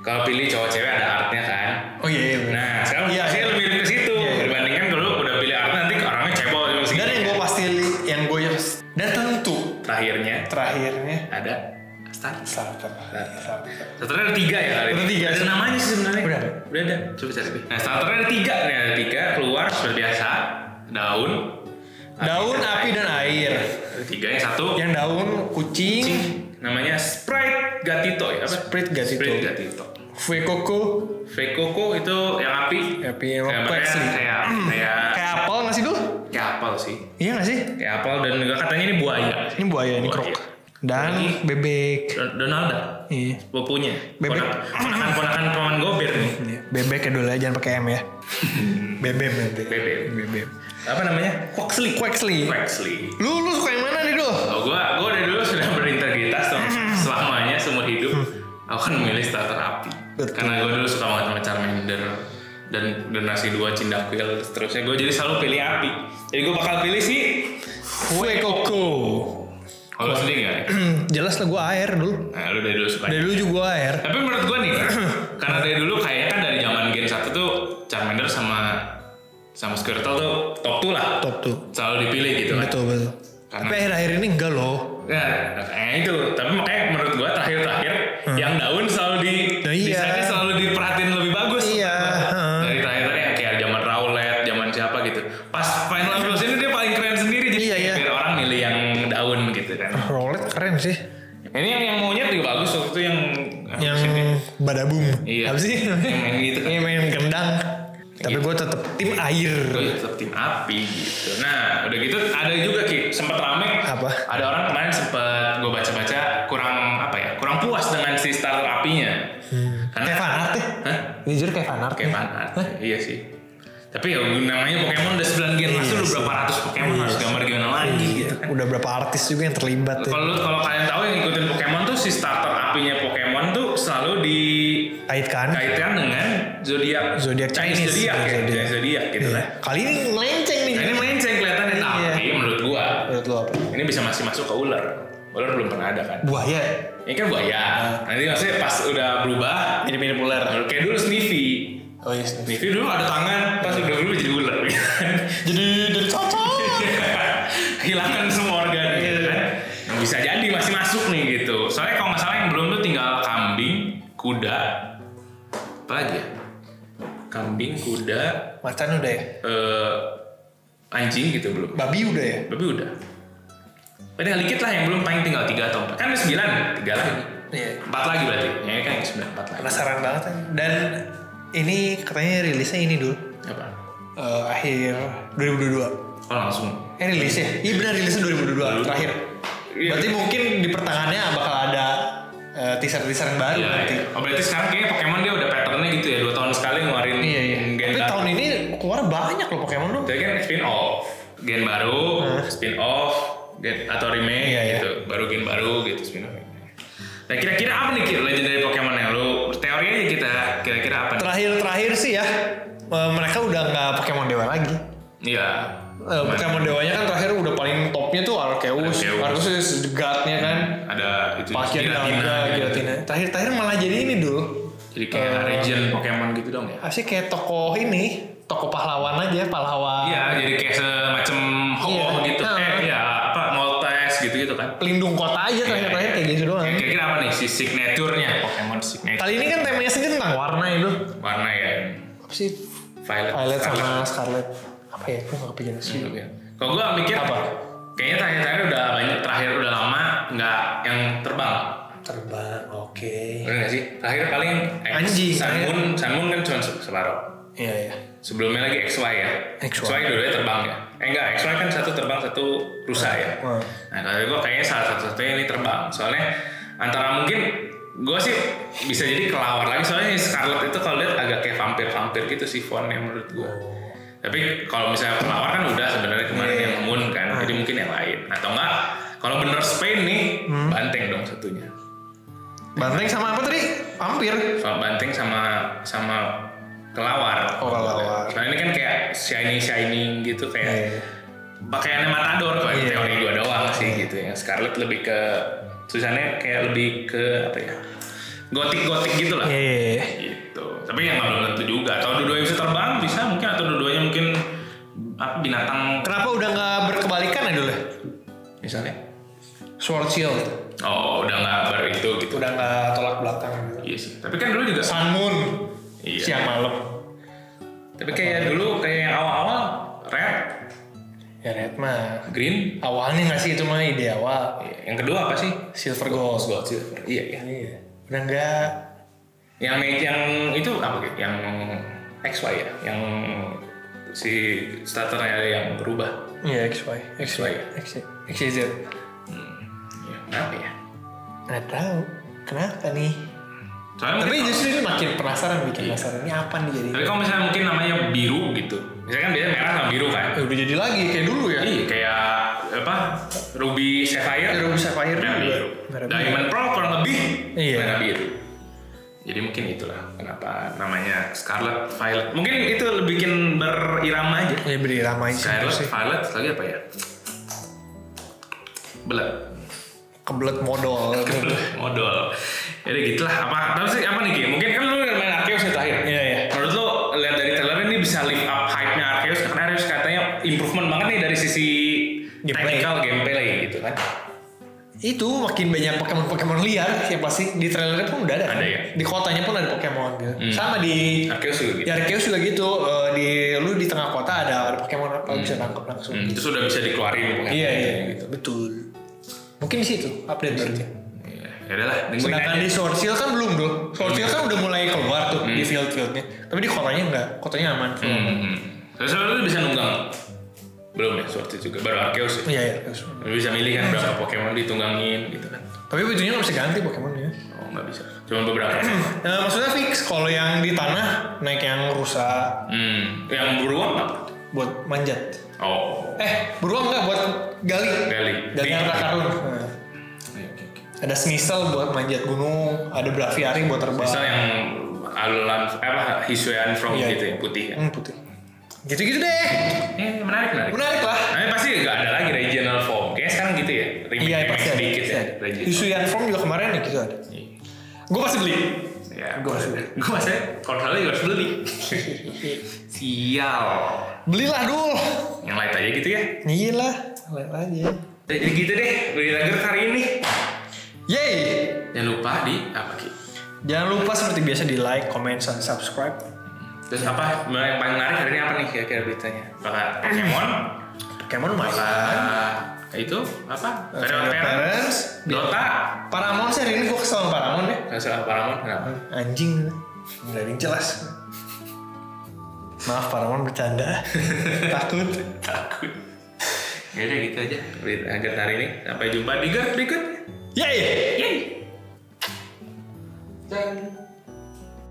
[SPEAKER 2] kalau pilih cowok cewek ada artnya kan
[SPEAKER 3] Oh iya, iya. bener.
[SPEAKER 2] Nah, sekarang
[SPEAKER 3] Iya,
[SPEAKER 2] saya
[SPEAKER 3] iya.
[SPEAKER 2] lebih ke situ
[SPEAKER 3] Iya, iya.
[SPEAKER 2] dibandingkan dulu udah pilih Arna nanti orangnya cebol di musik.
[SPEAKER 3] Dan yang gue pasti li- yang gue dan tentu
[SPEAKER 2] terakhirnya
[SPEAKER 3] terakhirnya
[SPEAKER 2] ada Star.
[SPEAKER 3] starter. Starter.
[SPEAKER 2] Starternya ada tiga ya kali. ini?
[SPEAKER 3] Ada tiga
[SPEAKER 2] Ada
[SPEAKER 3] sih.
[SPEAKER 2] namanya sih sebenarnya.
[SPEAKER 3] Udah ada.
[SPEAKER 2] Udah ada. Coba cari. Nah, starternya ada tiga nih ada tiga keluar seperti biasa daun.
[SPEAKER 3] Daun, api dan air.
[SPEAKER 2] Ada tiga yang satu
[SPEAKER 3] Yang daun
[SPEAKER 2] kucing
[SPEAKER 3] kucing,
[SPEAKER 2] namanya Sprite Gatito ya apa?
[SPEAKER 3] Sprite Gatito.
[SPEAKER 2] Sprite Gatito.
[SPEAKER 3] kue koko, Ya,
[SPEAKER 2] Vekoko itu yang api.
[SPEAKER 3] Api yang
[SPEAKER 2] Kayak
[SPEAKER 3] pek sih. Hmm.
[SPEAKER 2] kayak kayak
[SPEAKER 3] kayak apel nggak sih dulu?
[SPEAKER 2] kayak apel sih.
[SPEAKER 3] Iya nggak sih?
[SPEAKER 2] Kayak apel dan juga katanya ini buaya.
[SPEAKER 3] Ini buaya, ini
[SPEAKER 2] Buaya.
[SPEAKER 3] krok. dan
[SPEAKER 2] Lagi?
[SPEAKER 3] bebek
[SPEAKER 2] Don- Donalda
[SPEAKER 3] iya
[SPEAKER 2] sepupunya
[SPEAKER 3] Bebek.
[SPEAKER 2] ponakan ponakan paman gober nih
[SPEAKER 3] Iya, bebek ya dulu aja jangan pakai M ya bebek bebek
[SPEAKER 2] Hmm. Bebek.
[SPEAKER 3] bebek
[SPEAKER 2] apa namanya Quaxley
[SPEAKER 3] Quaxley
[SPEAKER 2] Quaxley
[SPEAKER 3] lu lu suka yang mana nih dul
[SPEAKER 2] Kalau gua, gua dari dulu sudah berintegritas dong. selamanya seumur hidup. Aku kan memilih starter api.
[SPEAKER 3] Hmm. Betul.
[SPEAKER 2] Karena gua dulu suka banget sama Charmander dan generasi dua Cindacquil dan seterusnya. Gua jadi selalu pilih api. Jadi gua bakal pilih sih.
[SPEAKER 3] kue koko
[SPEAKER 2] Kalau lu sendiri nggak?
[SPEAKER 3] jelas lah gue air dulu
[SPEAKER 2] Nah, lu dari dulu suka.
[SPEAKER 3] dari dulu juga gua air
[SPEAKER 2] Tapi menurut gua nih, karena dari dulu kayaknya kan dari zaman Gen 1 tuh Charmander sama sama Squirtle tuh top 2 lah.
[SPEAKER 3] top tuh
[SPEAKER 2] Selalu dipilih gitu kan.
[SPEAKER 3] betul betul
[SPEAKER 2] Karena-
[SPEAKER 3] tapi akhir-akhir ini enggak loh
[SPEAKER 2] Nah, kayaknya itu. Tapi makanya menurut gua terakhir-terakhir yang daun selalu di
[SPEAKER 3] Hmm. Nah, iya.
[SPEAKER 2] desainnya selalu diperhatiin lebih bagus. Nah,
[SPEAKER 3] Iya, heeh.
[SPEAKER 2] Dari terakhir-terakhir yang kayak zaman Rowlet, zaman siapa gitu. Pas Final Bros ini dia paling keren sendiri jadi
[SPEAKER 3] Iya, Hmm. iya.
[SPEAKER 2] biar orang milih yang daun gitu kan.
[SPEAKER 3] Rolet keren sih
[SPEAKER 2] Ini yang yang maunya juga bagus waktu itu yang
[SPEAKER 3] yang badabum
[SPEAKER 2] Nah, Iya.
[SPEAKER 3] apa sih
[SPEAKER 2] Yang main gitu. Iya.
[SPEAKER 3] yang main gendang tapi gue tetap tim air
[SPEAKER 2] Gua tetap Gitu, tim api gitu. Nah, udah gitu ada juga Ki, sempat rame.
[SPEAKER 3] Apa?
[SPEAKER 2] Ada orang kemarin sempat gue baca-baca kurang apa ya? Kurang puas dengan si starter apinya. Karena
[SPEAKER 3] kayak fanart ya
[SPEAKER 2] Hah?
[SPEAKER 3] jujur kayak fanart
[SPEAKER 2] Kayak fanart. Iya sih. Tapi ya namanya Pokemon udah 9
[SPEAKER 3] Iya
[SPEAKER 2] generasi udah berapa ratus Pokemon harus gambar gimana lagi gitu. kan.
[SPEAKER 3] udah berapa artis juga yang terlibat ya
[SPEAKER 2] Kalau kalau kalian tahu yang ngikutin Pokemon tuh si starter apinya Pokemon tuh selalu dikaitkan
[SPEAKER 3] kait kan
[SPEAKER 2] dengan zodiak
[SPEAKER 3] Zodiac
[SPEAKER 2] Chinese
[SPEAKER 3] Chinese,
[SPEAKER 2] zodiak ya,
[SPEAKER 3] zodiak.
[SPEAKER 2] Chinese zodiak gitu
[SPEAKER 3] Iya.
[SPEAKER 2] lah.
[SPEAKER 3] kali ini melenceng nih
[SPEAKER 2] Nah, ini melenceng kelihatannya
[SPEAKER 3] Iya.
[SPEAKER 2] tapi menurut gua
[SPEAKER 3] menurut lo apa
[SPEAKER 2] ini bisa masih masuk ke ular. Ular belum pernah ada kan?
[SPEAKER 3] buaya
[SPEAKER 2] Ini kan buaya. Nanti maksudnya pas udah berubah Nah,
[SPEAKER 3] jadi mirip ular
[SPEAKER 2] kayak dulu Sniffy.
[SPEAKER 3] oh iya sih.
[SPEAKER 2] Sniffy dulu ada tangan, pas udah berubah jadi ular. gitu kan.
[SPEAKER 3] jadi dari cocok
[SPEAKER 2] Hilangkan semua organ gitu
[SPEAKER 3] Iya.
[SPEAKER 2] kan. Nah, bisa jadi masih masuk nih gitu. Soalnya kalau nggak salah yang belum tuh tinggal kambing, kuda, apa lagi ya? Kambing, kuda,
[SPEAKER 3] macan udah ya
[SPEAKER 2] eh, anjing gitu belum.
[SPEAKER 3] babi udah ya
[SPEAKER 2] Tapi udah. Tapi tinggal dikit lah yang belum paling tinggal tiga atau empat. Kan ada sembilan, tiga lagi.
[SPEAKER 3] iya
[SPEAKER 2] Empat lagi berarti. Ya kan yang sembilan empat lagi.
[SPEAKER 3] penasaran banget kan dan ini katanya rilisnya ini dulu
[SPEAKER 2] Apa?
[SPEAKER 3] Eh, akhir 2022
[SPEAKER 2] Oh langsung.
[SPEAKER 3] eh rilis ya iya benar rilisnya 2022 terakhir
[SPEAKER 2] Iya.
[SPEAKER 3] berarti mungkin di pertengahannya bakal ada eh, teaser-teaser yang baru
[SPEAKER 2] Iya,
[SPEAKER 3] nanti
[SPEAKER 2] iya. Oh, berarti sekarang kayaknya Pokemon dia udah patternnya gitu ya, dua tahun sekali ngeluarin
[SPEAKER 3] Iya iya.
[SPEAKER 2] gen
[SPEAKER 3] Tapi
[SPEAKER 2] baru.
[SPEAKER 3] tahun ini keluar banyak loh Pokemon loh.
[SPEAKER 2] Tapi kan spin off, gen baru, spin off, gen atau remake
[SPEAKER 3] Iya, iya.
[SPEAKER 2] gitu, baru gen baru gitu spin off. Nah kira-kira apa nih Kir, legendary Pokemon yang lu teori aja kita kira-kira apa nih?
[SPEAKER 3] Terakhir-terakhir sih ya eh, mereka udah nggak Pokemon Dewa lagi.
[SPEAKER 2] Iya.
[SPEAKER 3] Eh, Pokemon Dewanya kan terakhir udah paling topnya tuh Arceus,
[SPEAKER 2] Arceus.
[SPEAKER 3] Arceus is God-nya kan.
[SPEAKER 2] Ada itu
[SPEAKER 3] Pakai Giratina,
[SPEAKER 2] gitu.
[SPEAKER 3] Giratina. Terakhir-terakhir malah jadi ini dulu.
[SPEAKER 2] Jadi kayak
[SPEAKER 3] Eh,
[SPEAKER 2] region Pokemon gitu dong ya.
[SPEAKER 3] Apa sih kayak tokoh ini, tokoh pahlawan aja, pahlawan.
[SPEAKER 2] Iya, jadi kayak semacam
[SPEAKER 3] Ah. Iya.
[SPEAKER 2] Ho gitu.
[SPEAKER 3] Nah.
[SPEAKER 2] Eh, ya apa Moltres gitu-gitu kan.
[SPEAKER 3] Pelindung kota aja terakhir-terakhir
[SPEAKER 2] iya.
[SPEAKER 3] kayak gitu doang.
[SPEAKER 2] Kira-kira apa nih si signaturenya Pokemon signature?
[SPEAKER 3] Kali ini kan temanya sendiri tentang warna itu.
[SPEAKER 2] Warna ya.
[SPEAKER 3] Apa sih?
[SPEAKER 2] Violet.
[SPEAKER 3] Violet
[SPEAKER 2] scarlet.
[SPEAKER 3] sama Scarlet. Apa ya? Gue nggak kepikiran sih.
[SPEAKER 2] Iya. Kalau gue mikir
[SPEAKER 3] Apa?
[SPEAKER 2] Kayaknya terakhir-terakhir udah banyak terakhir udah lama nggak yang terbang.
[SPEAKER 3] Terbang, oke.
[SPEAKER 2] Bener nggak sih? Terakhir paling X,
[SPEAKER 3] Anjing,
[SPEAKER 2] Sun
[SPEAKER 3] terakhir.
[SPEAKER 2] Moon, Sun Moon kan cuma se- separuh.
[SPEAKER 3] Iya iya.
[SPEAKER 2] Sebelumnya lagi XY ya.
[SPEAKER 3] XY.
[SPEAKER 2] dulu terbang ya. Eh enggak, XY kan satu terbang satu rusak ya.
[SPEAKER 3] Hmm.
[SPEAKER 2] Nah kalau gue kayaknya salah satu-satunya ini terbang. Soalnya antara mungkin gue sih bisa jadi kelawar lagi soalnya Scarlet itu kalau lihat agak kayak vampir-vampir gitu sih fontnya menurut gue. Tapi kalau misalnya pelawar kan udah sebenarnya kemarin yang Moon kan, jadi mungkin yang lain. Atau enggak, kalau bener Spain nih, banteng dong satunya.
[SPEAKER 3] Banteng sama apa tadi? Vampir.
[SPEAKER 2] Soal banteng sama sama kelawar.
[SPEAKER 3] Oh, kelawar.
[SPEAKER 2] Nah ini kan kayak shiny shining gitu kayak
[SPEAKER 3] Iya.
[SPEAKER 2] pakaiannya matador kalau
[SPEAKER 3] Iya.
[SPEAKER 2] teori gua doang sih gitu ya. Scarlet lebih ke tulisannya kayak lebih ke apa ya? Gotik-gotik gitu lah.
[SPEAKER 3] Iya.
[SPEAKER 2] gitu tapi yang nggak belum tentu juga atau dua-duanya bisa terbang bisa mungkin atau dua-duanya mungkin apa binatang
[SPEAKER 3] Kenapa udah nggak berkebalikan ya dulu?
[SPEAKER 2] misalnya
[SPEAKER 3] Sword Shield.
[SPEAKER 2] oh udah nggak ber itu gitu
[SPEAKER 3] Udah nggak tolak belakang. gitu.
[SPEAKER 2] iya sih tapi kan dulu juga
[SPEAKER 3] Sun Moon.
[SPEAKER 2] Iya.
[SPEAKER 3] Siang malam.
[SPEAKER 2] tapi kayak dulu kayak yang awal-awal red
[SPEAKER 3] Ya Red mah.
[SPEAKER 2] green
[SPEAKER 3] Awalnya nggak sih itu mah ide awal.
[SPEAKER 2] Iya. yang kedua apa sih
[SPEAKER 3] Silver Ghost.
[SPEAKER 2] gold silver iya iya
[SPEAKER 3] Iya. Udah nggak.
[SPEAKER 2] yang yang itu apa gitu yang XY ya yang si starternya ada yang berubah
[SPEAKER 3] Iya XY. XY. XY. XYZ.
[SPEAKER 2] ya? Iya. Kenapa ya?
[SPEAKER 3] Nggak tahu. Kenapa nih? Iya.
[SPEAKER 2] Soalnya
[SPEAKER 3] Tapi
[SPEAKER 2] mungkin-
[SPEAKER 3] justru ini makin penasaran, bikin penasaran. Ini apa nih jadi?
[SPEAKER 2] tapi kalau misalnya mungkin namanya biru gitu. Misalkan biasanya merah sama biru kan.
[SPEAKER 3] Eh, udah jadi lagi kayak dulu ya.
[SPEAKER 2] Iya, kayak apa? Ruby Sapphire. Iya.
[SPEAKER 3] Ya, Ruby Sapphire
[SPEAKER 2] merah
[SPEAKER 3] juga.
[SPEAKER 2] biru.
[SPEAKER 3] Merah biru.
[SPEAKER 2] Diamond Pearl kurang lebih
[SPEAKER 3] Iya.
[SPEAKER 2] merah biru. Jadi mungkin itulah kenapa namanya Scarlet Violet. Mungkin itu lebih bikin berirama aja.
[SPEAKER 3] Ya beri ramai sih.
[SPEAKER 2] Scarlet
[SPEAKER 3] sih.
[SPEAKER 2] Violet lagi apa ya? Belet.
[SPEAKER 3] Kebelet modal.
[SPEAKER 2] modal jadi gitulah apa tapi sih apa nih Ki? mungkin kan lu main Arceus nih terakhir
[SPEAKER 3] Iya, iya.
[SPEAKER 2] menurut lu lihat dari trailer ini bisa lift up hype nya Arceus karena Arceus katanya improvement banget nih dari sisi
[SPEAKER 3] Gameplay.
[SPEAKER 2] technical gameplay gitu kan
[SPEAKER 3] itu makin banyak Pokemon-Pokemon liar yang pasti di trailernya pun udah ada. kan?
[SPEAKER 2] Ada ya?
[SPEAKER 3] Di kotanya pun ada Pokemon gitu.
[SPEAKER 2] Hmm.
[SPEAKER 3] Sama di
[SPEAKER 2] Arceus juga
[SPEAKER 3] di
[SPEAKER 2] gitu
[SPEAKER 3] Arceus juga gitu. eh, di lu di tengah kota ada ada Pokemon apa bisa tangkap langsung.
[SPEAKER 2] Hmm, itu sudah bisa dikeluarin pokoknya.
[SPEAKER 3] Iya iya gitu. Betul. Mungkin di situ update barunya.
[SPEAKER 2] Iya, ya udahlah nungguin
[SPEAKER 3] Sedangkan
[SPEAKER 2] aja Hmm.
[SPEAKER 3] di Sword Shield kan belum dong. Sword Shield kan udah mulai keluar tuh di field-fieldnya. Tapi di kotanya enggak. Kotanya aman. full
[SPEAKER 2] Hmm,
[SPEAKER 3] aman.
[SPEAKER 2] hmm. Terus lu bisa nunggang belum ya sorti juga baru Arceus ya
[SPEAKER 3] Iya iya. Arceus.
[SPEAKER 2] lu bisa milih kan berapa Pokemon ditunggangin gitu kan
[SPEAKER 3] Tapi bajunya nggak bisa ganti Pokemonnya.
[SPEAKER 2] oh nggak bisa cuma beberapa
[SPEAKER 3] Nah, maksudnya fix kalau yang di tanah naik yang rusa
[SPEAKER 2] hmm yang beruang apa
[SPEAKER 3] buat manjat.
[SPEAKER 2] oh
[SPEAKER 3] Eh, beruang nggak buat gali?
[SPEAKER 2] Gali. Hmm.
[SPEAKER 3] Gali
[SPEAKER 2] Dik.
[SPEAKER 3] harta karun. Nah, Ada Sneasel buat manjat gunung, ada Braviary buat terbang.
[SPEAKER 2] Misal yang alulan apa Hisuian from
[SPEAKER 3] Iya.
[SPEAKER 2] gitu yang putih ya.
[SPEAKER 3] Hmm, putih. Gitu-gitu deh.
[SPEAKER 2] Eh, menarik menarik.
[SPEAKER 3] Menarik lah.
[SPEAKER 2] Tapi pasti nggak ada lagi regional form. Kayaknya sekarang gitu ya. Remake,
[SPEAKER 3] Iya, pasti ada.
[SPEAKER 2] sedikit
[SPEAKER 3] pasti
[SPEAKER 2] ya.
[SPEAKER 3] ada.
[SPEAKER 2] Regional.
[SPEAKER 3] Isu yang form juga kemarin ya gitu ada.
[SPEAKER 2] Iya.
[SPEAKER 3] Gue pasti beli.
[SPEAKER 2] Ya,
[SPEAKER 3] Gua
[SPEAKER 2] gue
[SPEAKER 3] masih beli.
[SPEAKER 2] gue masih kalau salah juga harus beli. Sial.
[SPEAKER 3] Belilah dulu.
[SPEAKER 2] Yang light aja gitu ya.
[SPEAKER 3] Iya lah, lihat aja.
[SPEAKER 2] Jadi gitu deh, beli lager hari ini.
[SPEAKER 3] Yeay.
[SPEAKER 2] Jangan lupa di apa Ki?
[SPEAKER 3] Jangan lupa seperti biasa di like, comment, dan subscribe.
[SPEAKER 2] Terus apa Nah, yang paling menarik hari ini apa nih kira-kira beritanya? Bakal Pokemon?
[SPEAKER 3] Pokemon
[SPEAKER 2] Bakal
[SPEAKER 3] Master.
[SPEAKER 2] itu apa?
[SPEAKER 3] Fairy
[SPEAKER 2] Fairy Parents?
[SPEAKER 3] Parents.
[SPEAKER 2] Dota?
[SPEAKER 3] Paramon sih hari ini gue kesel sama Paramon ya.
[SPEAKER 2] Nggak salah Paramount kenapa?
[SPEAKER 3] Anjing. Nggak ada yang jelas. Maaf Paramon bercanda. Takut.
[SPEAKER 2] takut ya udah gitu aja berita angkat hari ini sampai jumpa di GER berikutnya
[SPEAKER 3] Yeay.
[SPEAKER 2] yay dan